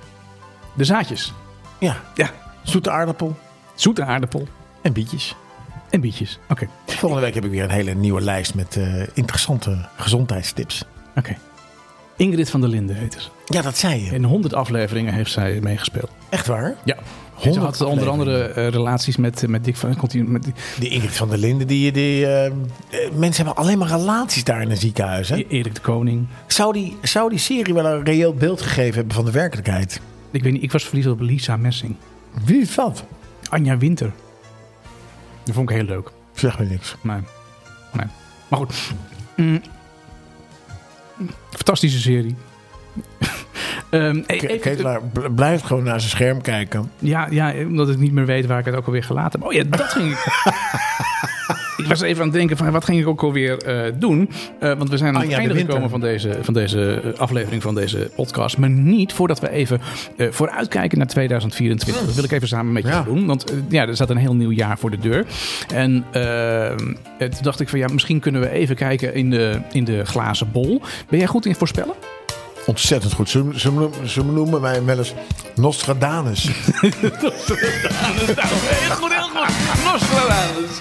A: De zaadjes.
B: Ja,
A: Ja.
B: zoete aardappel.
A: Zoete aardappel
B: En bietjes.
A: en bietjes. Oké,
B: Volgende week heb ik weer een hele nieuwe lijst met eh, interessante gezondheidstips.
A: oké. Ingrid van der Linden heette ze.
B: Ja, dat zei je.
A: In 100 afleveringen heeft zij meegespeeld.
B: Echt waar?
A: Ja. Ze
B: 100
A: had onder andere eh, relaties met, eh, met Dick van... continu- Met,
B: Die Ingrid van der Linden, die, die, eh, eh, mensen hebben alleen maar relaties daar in een ziekenhuis. Hè?
A: E- Erik de Koning.
B: Zou, die, zou die serie wel een reëel beeld gegeven hebben van de werkelijkheid?
A: Ik weet niet, ik was verliefd op Lisa Messing.
B: Wie is dat?
A: Anja Winter. Dat vond ik heel leuk.
B: Zeg me niks.
A: Maar, nee. maar goed. Mm. Fantastische serie. Ehm, e- even-
B: Ketelaar bl- blijft gewoon naar zijn scherm kijken.
A: ja, ja, omdat ik niet meer weet waar ik het ook alweer gelaten heb. Oh ja, dat ging ik. ik was even aan het denken van wat ging ik ook alweer eh, doen. Eh, want we zijn aan
B: Ah,
A: het
B: ja, de
A: einde
B: winter.
A: gekomen van deze, van deze eh, aflevering van deze podcast. Maar niet voordat we even eh, vooruitkijken naar 2024. Dat wil ik even samen met je
B: Ja.
A: doen. Want eh, ja, er staat een heel nieuw jaar voor de deur. En eh, eh, toen dacht ik van ja, misschien kunnen we even kijken in de, in de glazen bol. Ben jij goed in voorspellen?
B: Ontzettend goed. Ze, ze noemen- ze noemen mij wel eens Nostradamus.
A: Heel goed, heel goed. Nostradamus.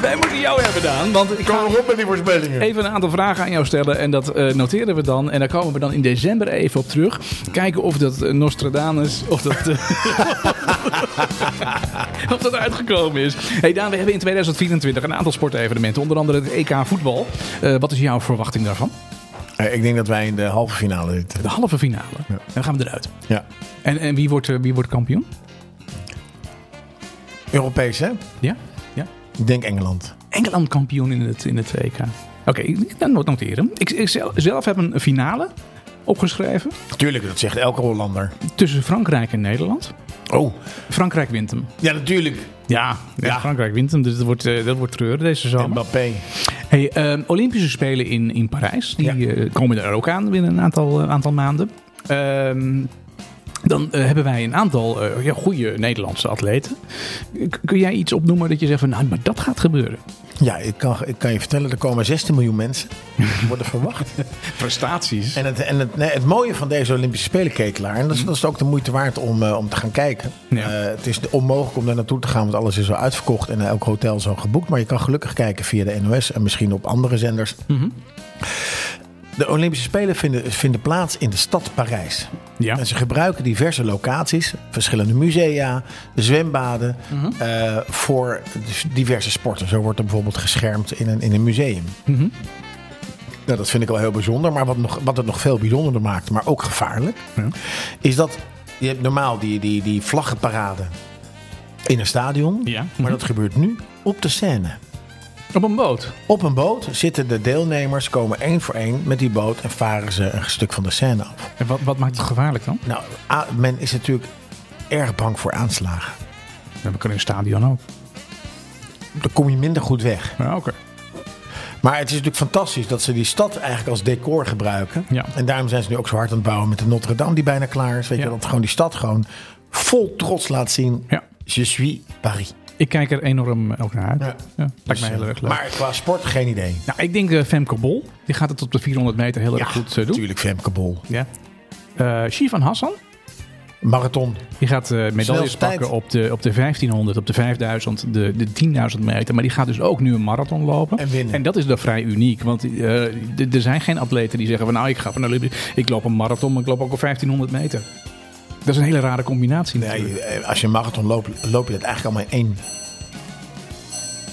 A: Wij moeten jou hebben, Daan. Want ik
B: Kom op met die voorspellingen.
A: even een aantal vragen aan jou stellen. En dat eh, noteren we dan. En daar komen we dan in december even op terug. Kijken of dat eh, Nostradamus. Of dat, eh, of dat uitgekomen is. hey Daan, we hebben in 2024 een aantal sportevenementen. Onder andere het EK voetbal. Eh, wat is jouw verwachting daarvan?
B: Eh, ik denk dat wij in de halve finale zitten.
A: De halve finale. En dan gaan we eruit.
B: Ja.
A: En, en wie, wordt, eh, wie wordt kampioen?
B: Europees, hè?
A: Ja? Ja?
B: Ik denk Engeland.
A: Engeland kampioen in het, in het WK. Oké, ik dan moet noteren. Ik, ik zelf, zelf heb een finale opgeschreven
B: Tuurlijk, dat zegt elke Hollander.
A: tussen Frankrijk en Nederland.
B: Oh,
A: Frankrijk wint hem.
B: ja, natuurlijk.
A: Ja,
B: Ja.
A: Frankrijk wint hem. Dus dat wordt, eh, dat wordt treuren deze zomer.
B: Mbappé.
A: Hey, ehm, Olympische Spelen in, in Parijs. Die
B: Ja.
A: eh, komen er ook aan binnen een aantal, eh, aantal maanden. Ehm, dan eh, hebben wij een aantal eh, ja, goede Nederlandse atleten. K- kun jij iets opnoemen dat je zegt van... Nou, maar dat gaat gebeuren.
B: Ja, ik kan, ik kan je vertellen, er komen 16 miljoen mensen. Die worden verwacht.
A: Prestaties.
B: En het, en het, nee, het mooie van deze Olympische Spelen, Ketelaar, en dat is, dat is ook de moeite waard om, eh, om te gaan kijken.
A: Ja.
B: Eh, het is onmogelijk om daar naartoe te gaan, want alles is al uitverkocht en elk hotel is al geboekt. Maar je kan gelukkig kijken via de NOS en misschien op andere zenders. De Olympische Spelen vinden, vinden plaats in de stad Parijs.
A: ja.
B: En ze gebruiken diverse locaties, verschillende musea, zwembaden,
A: Mhm.
B: eh, voor dus diverse sporten. Zo wordt er bijvoorbeeld geschermd in een, in een museum.
A: Mhm.
B: Nou, dat vind ik al heel bijzonder. Maar wat, nog, wat het nog veel bijzonderder maakt, maar ook gevaarlijk,
A: Ja.
B: is dat je hebt normaal die, die, die vlaggenparade in een stadion.
A: Ja. Mhm.
B: Maar dat gebeurt nu op de scène.
A: Op een boot.
B: Op een boot zitten de deelnemers, komen één voor één met die boot en varen ze een stuk van de scène af.
A: En wat, wat maakt het gevaarlijk dan?
B: Nou, a- men is natuurlijk erg bang voor aanslagen.
A: We kunnen in het stadion ook.
B: Dan kom je minder goed weg.
A: Ja, oké.
B: Maar het is natuurlijk fantastisch dat ze die stad eigenlijk als decor gebruiken.
A: Ja.
B: En daarom zijn ze nu ook zo hard aan het bouwen met de Notre Dame die bijna klaar is. Weet
A: Ja.
B: je, dat gewoon die stad gewoon vol trots laat zien.
A: Ja.
B: Je suis Paris.
A: Ik kijk er enorm eh, ook naar uit. Ja.
B: Ja. Dus, eh,
A: Lijkt mij heel erg leuk.
B: Maar qua sport geen idee.
A: nou, ik denk eh, Femke Bol. Die gaat het op de 400 meter heel erg goed eh, doen.
B: natuurlijk Femke Bol.
A: Ja. Eh Shivan Hassan.
B: Marathon.
A: Die gaat eh, medailles
B: Snelste tijd.
A: pakken op de, op de 1500, op de 5000, de, de 10.000 meter. Maar die gaat dus ook nu een marathon lopen.
B: En winnen.
A: En dat is dan vrij uniek. Want eh, d- er zijn geen atleten die zeggen van nou ik ga van Olympisch. Ik loop een marathon, maar ik loop ook een 1500 meter. Dat is een hele rare combinatie natuurlijk.
B: Nee, eh, als je een marathon loopt, loop je dat eigenlijk allemaal in één.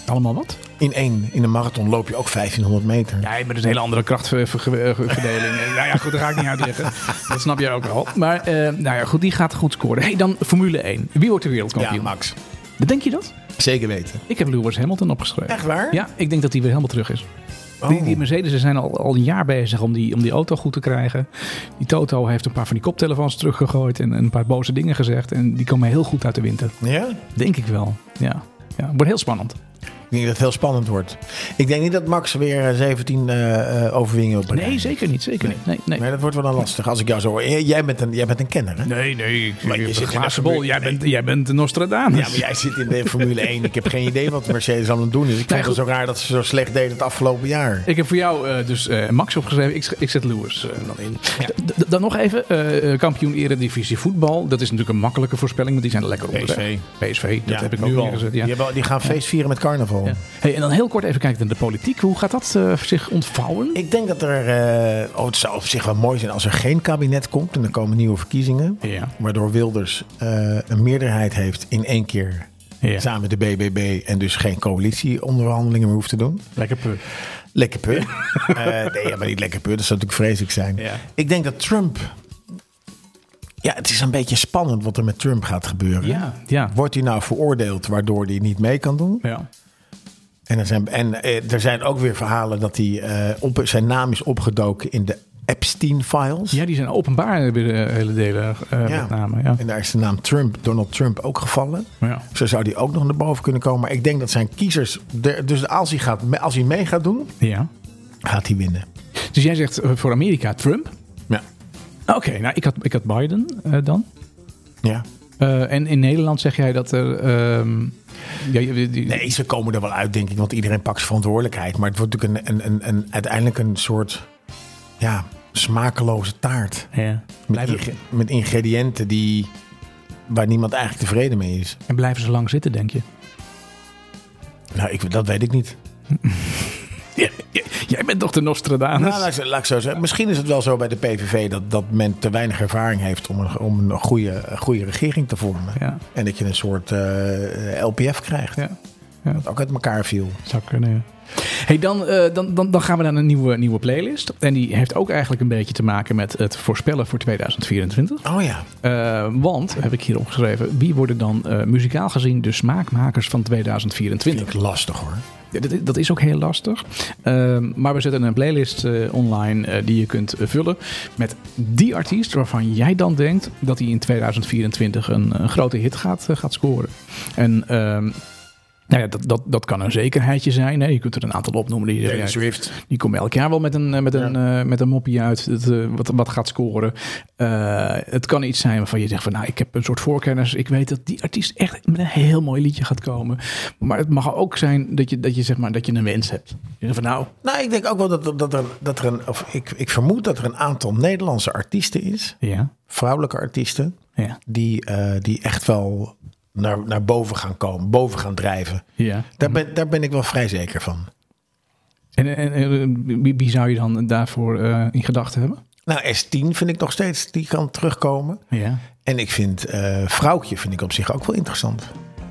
A: Allemaal wat?
B: In één. In een marathon loop je ook 1500 meter.
A: Ja, maar dat is een hele andere krachtverdeling. nou ja, goed, dat ga ik niet uitleggen. Dat snap jij ook al. Maar eh, nou ja, goed, die gaat goed scoren. Hey, dan Formule 1. Wie wordt de wereldkampioen?
B: Max.
A: Denk je dat?
B: Zeker weten.
A: Ik heb Lewis Hamilton opgeschreven.
B: Echt waar? Oh.
A: Ja, ik denk dat hij weer helemaal terug is. Die, die Mercedes zijn al, al een jaar bezig om die, om die auto goed te krijgen. Die Toto heeft een paar van die koptelefoons teruggegooid en een paar boze dingen gezegd. En die komen heel goed uit de winter.
B: Ja?
A: Denk ik wel. Ja, ja wordt heel spannend.
B: denk dat het heel spannend wordt. Ik denk niet dat Max weer eh, 17 eh, eh, overwinningen op
A: Nee, zeker niet. Zeker niet. Nee, nee.
B: Nee, dat wordt wel dan lastig. Als ik jou zo hoor. Eh, Jij bent een, jij bent een kenner, hè?
A: Nee, nee. Ik,
B: Maar
A: ik-
B: je
A: een
B: zit in de
A: glazen bol.
B: gebu-
A: Jij
B: nee.
A: bent, jij bent een Nostradamus.
B: Ja, maar jij zit in de Formule 1. Ik heb geen idee wat Mercedes aan het doen is. Ik
A: Nee,
B: vond het zo raar dat ze zo slecht deden het afgelopen jaar.
A: Ik heb voor jou eh, dus eh, Max opgeschreven. Ik, sch- ik zet Lewis eh, dan in. D- d- Dan nog even eh, eh, kampioen Eredivisie voetbal. Dat is natuurlijk een makkelijke voorspelling, want die zijn lekker onderweg. PSV, dat
B: Ja,
A: heb ik
B: ook
A: nu
B: wel.
A: al gezet.
B: Die,
A: Ja.
B: hebben, al- die gaan feest vieren met carnaval.
A: Ja. Hey, en dan heel kort even kijken naar de politiek. Hoe gaat dat eh, zich ontvouwen?
B: Ik denk dat er. eh, oh, het zou op zich wel mooi zijn als er geen kabinet komt. En er komen nieuwe verkiezingen.
A: Ja.
B: Waardoor Wilders eh, een meerderheid heeft in één keer.
A: Ja.
B: Samen met de BBB. En dus geen coalitieonderhandelingen meer hoeft te doen.
A: Lekker put.
B: Lekker put. Eh, nee, ja, maar niet lekker put. Dat zou natuurlijk vreselijk zijn.
A: Ja.
B: Ik denk dat Trump. Ja, het is een beetje spannend wat er met Trump gaat gebeuren.
A: Ja, ja.
B: Wordt hij nou veroordeeld waardoor hij niet mee kan doen?
A: Ja.
B: En er zijn, en eh, er zijn ook weer verhalen dat hij, eh, op, zijn naam is opgedoken in de Epstein-files.
A: ja, die zijn openbaar, eh, weer, eh, hele delen eh, met name. Ja.
B: En daar is de naam Trump, Donald Trump ook gevallen.
A: Ja.
B: Zo zou die ook nog naar boven kunnen komen. Maar ik denk dat zijn kiezers. de- dus als hij, gaat, me- als hij mee gaat doen,
A: ja.
B: gaat hij winnen.
A: Dus jij zegt eh, voor Amerika Trump.
B: Ja.
A: Oké, nou ik had, ik had Biden eh, dan.
B: ja.
A: Eh, en in Nederland zeg jij dat er... ehm, ja, je- die-
B: Nee, ze komen er wel uit, denk ik. Want iedereen pakt zijn verantwoordelijkheid. Maar het wordt natuurlijk een, een, een, een- uiteindelijk een soort. Ja, smakeloze taart.
A: Ja.
B: Met,
A: Blijven-
B: ing- met ingrediënten die. waar niemand eigenlijk tevreden mee is.
A: En blijven ze lang zitten, denk je?
B: Nou, ik, dat weet ik niet.
A: jij bent toch de Nostradamus?
B: Nou, laat, ik zo- laat ik zo zeggen. Misschien is het wel zo bij de PVV dat, dat men te weinig ervaring heeft om een, om een goede, een goede regering te vormen.
A: Ja.
B: En dat je een soort eh, LPF krijgt.
A: Ja, ja,
B: Dat ook uit elkaar viel.
A: zou kunnen, ja. Hey, dan, eh, dan, dan, dan gaan we naar een nieuwe, nieuwe playlist. En die heeft ook eigenlijk een beetje te maken met het voorspellen voor 2024.
B: Oh ja.
A: Eh, want, heb ik hier opgeschreven, wie worden dan eh, muzikaal gezien de smaakmakers van 2024?
B: Vind ik lastig hoor.
A: Ja, Dat, dat is ook heel lastig. Ehm, maar we zetten een playlist eh, online eh, die je kunt eh, vullen met die artiest waarvan jij dan denkt dat hij in 2024 een, een grote hit gaat, eh, gaat scoren. En ehm, nou ja, dat, dat, dat kan een zekerheidje zijn. Hè. Je kunt er een aantal opnoemen. Die, ja,
B: Swift.
A: die komen elk jaar wel met een, eh, met een, eh, met een moppie uit dat, eh, wat, wat gaat scoren. Eh, het kan iets zijn waarvan je zegt van nou, ik heb een soort voorkennis. Ik weet dat die artiest echt met een heel mooi liedje gaat komen. Maar het mag ook zijn dat je, dat je, zeg maar, dat je een wens hebt. Je zegt van nou,
B: Nou, ik denk ook wel dat, dat er, dat er een. Of ik, ik vermoed dat er een aantal Nederlandse artiesten is.
A: ja,
B: Vrouwelijke artiesten.
A: ja,
B: Die, eh, die echt wel naar, naar boven gaan komen. Boven gaan drijven.
A: ja.
B: Daar ben, daar ben ik wel vrij zeker van.
A: En, en, en wie, wie zou je dan daarvoor eh, in gedachten hebben?
B: Nou, S10 vind ik nog steeds, die kan terugkomen.
A: Ja.
B: En ik vind eh Vrouwtje vind ik op zich ook wel interessant.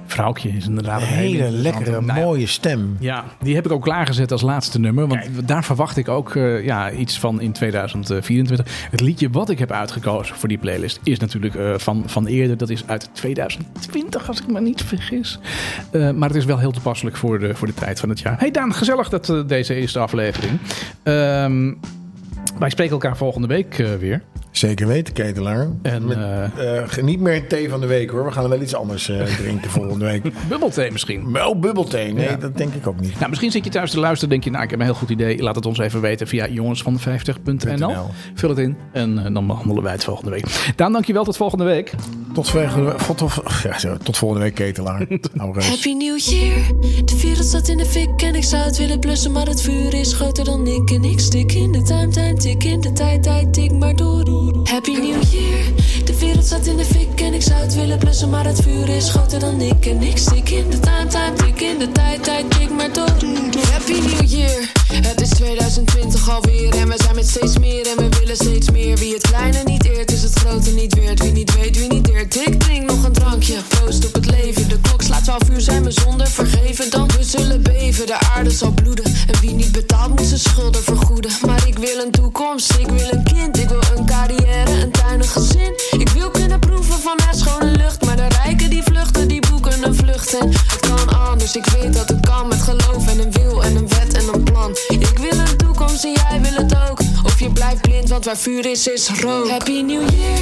A: Vrouwtje is inderdaad
B: Een
A: een hele
B: hele
A: interessante.
B: lekkere,
A: Nou ja,
B: mooie stem.
A: Ja, die heb ik ook klaargezet als laatste nummer. Want daar verwacht ik ook eh, ja, iets van in 2024. Het liedje wat ik heb uitgekozen voor die playlist is natuurlijk eh, van, van eerder. Dat is uit 2020, als ik me niet vergis. Eh, maar het is wel heel toepasselijk voor de, voor de tijd van het jaar. Hey Daan, gezellig dat eh, deze eerste aflevering. Ehm, wij spreken elkaar volgende week eh, weer.
B: Zeker weten, Ketelaar.
A: En
B: Met,
A: eh
B: eh, niet meer thee van de week hoor. We gaan wel iets anders eh, drinken volgende week.
A: bubbelthee misschien.
B: Oh, bubbelthee. Nee,
A: Ja.
B: dat denk ik ook niet.
A: Nou, misschien zit je thuis te luisteren. Denk je, nou, ik heb een heel goed idee. Laat het ons even weten via jongensvan50.nl.
B: NL.
A: Vul het in en eh, dan behandelen wij het volgende week. Daan, dankjewel. Tot volgende week.
B: Tot, volgende- tot, tot- ja, zo, tot volgende week, Ketelaar. Nou, Hou rust.
D: Happy New Year. De wereld staat in de fik en ik zou het willen blussen, maar het vuur is groter dan ik. En ik stik in de time, time, tik in de tijd, tijd, tik maar door. Happy New Year. De wereld staat in de fik en ik zou het willen blussen, maar het vuur is groter dan ik. En ik stik in de time, time, tik in de tijd, tijd, tik maar door. Happy New Year. Het is 2020 alweer en we zijn met steeds meer en we willen steeds meer. Wie het kleine niet eert, is het grote niet weert. Wie niet weet, wie niet eert. Ik drink nog een drankje. Proost op het leven. De klok slaat 12 uur, zijn we zonder vergeven. Dan we zullen beven, de aarde zal bloeden. En wie niet betaalt, moet zijn schulden vergoeden. Maar ik wil een toekomst, ik wil een kind. Ik wil een carrière, een tuin, een gezin. Ik wil kunnen proeven van haar schone lucht. Maar de rijken die vluchten, die boeken een vlucht. En het kan anders, ik weet dat het kan. Met geloof en een wil en een wet en een plan. Ik wil een toekomst en jij wil het ook. Of je blijft blind, want waar vuur is, is rook. Happy New Year,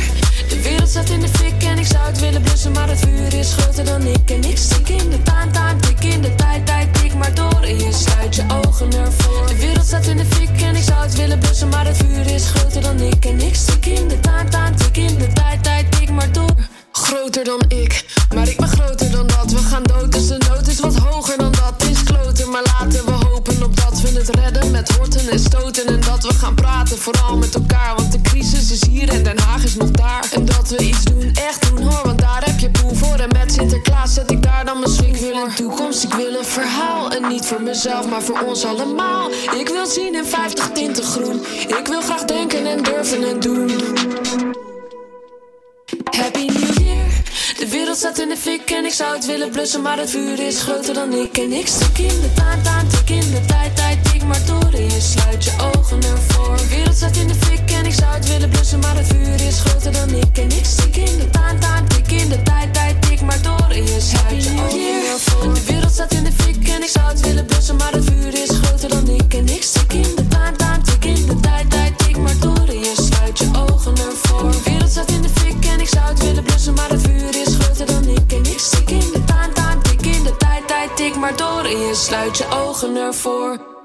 D: de wereld staat in de fik en ik zou het willen blussen, maar het vuur is groter dan ik. En ik stik in de taan, taan, tik in de tijd, tijd, tik maar door en je sluit je ogen ervoor. De wereld staat in de fik en ik zou het willen blussen, maar het vuur is groter dan ik. En ik stik in de taan, taan, tik in de tijd, tijd, tik maar door. Groter dan ik, maar ik ben groter dan dat. We gaan dood, dus de nood is wat hoger dan dat. Is kloten, maar laten we hopen op dat we het redden met horten en stoten. En dat we gaan praten, vooral met elkaar. Want de crisis is hier en Den Haag is nog daar. En dat we iets doen, echt doen hoor, want daar heb je poen voor. En met Sinterklaas zet ik daar dan mijn swing voor. Ik wil een toekomst, ik wil een verhaal. En niet voor mezelf, maar voor ons allemaal. Ik wil zien in 50 tinten groen. Ik wil graag denken en durven en doen. Happy New Year. De wereld staat in de fik en ik zou het willen blussen, maar het vuur is groter dan ik. En ik stik in de taan, taan, tik in de tijd, tijd, tik maar door en je sluit je ogen ervoor. De wereld staat in de fik en ik zou het willen blussen, maar het vuur is groter dan ik. En ik stik in de taan, taan, tik in de tijd, tijd, tik maar door en je sluit je ogen ervoor. De wereld staat in de fik en ik zou het willen blussen, maar het vuur is groter dan ik. En ik stik in de taan, taan, tik in de tijd, tijd, tik maar door en je sluit je ogen ervoor. De wereld staat in de fik en ik zou het willen blussen, maar het vuur is groter dan ik. En ik stik in de taan, taan, tik in de tijd, tijd, tik maar door en je sluit je ogen ervoor.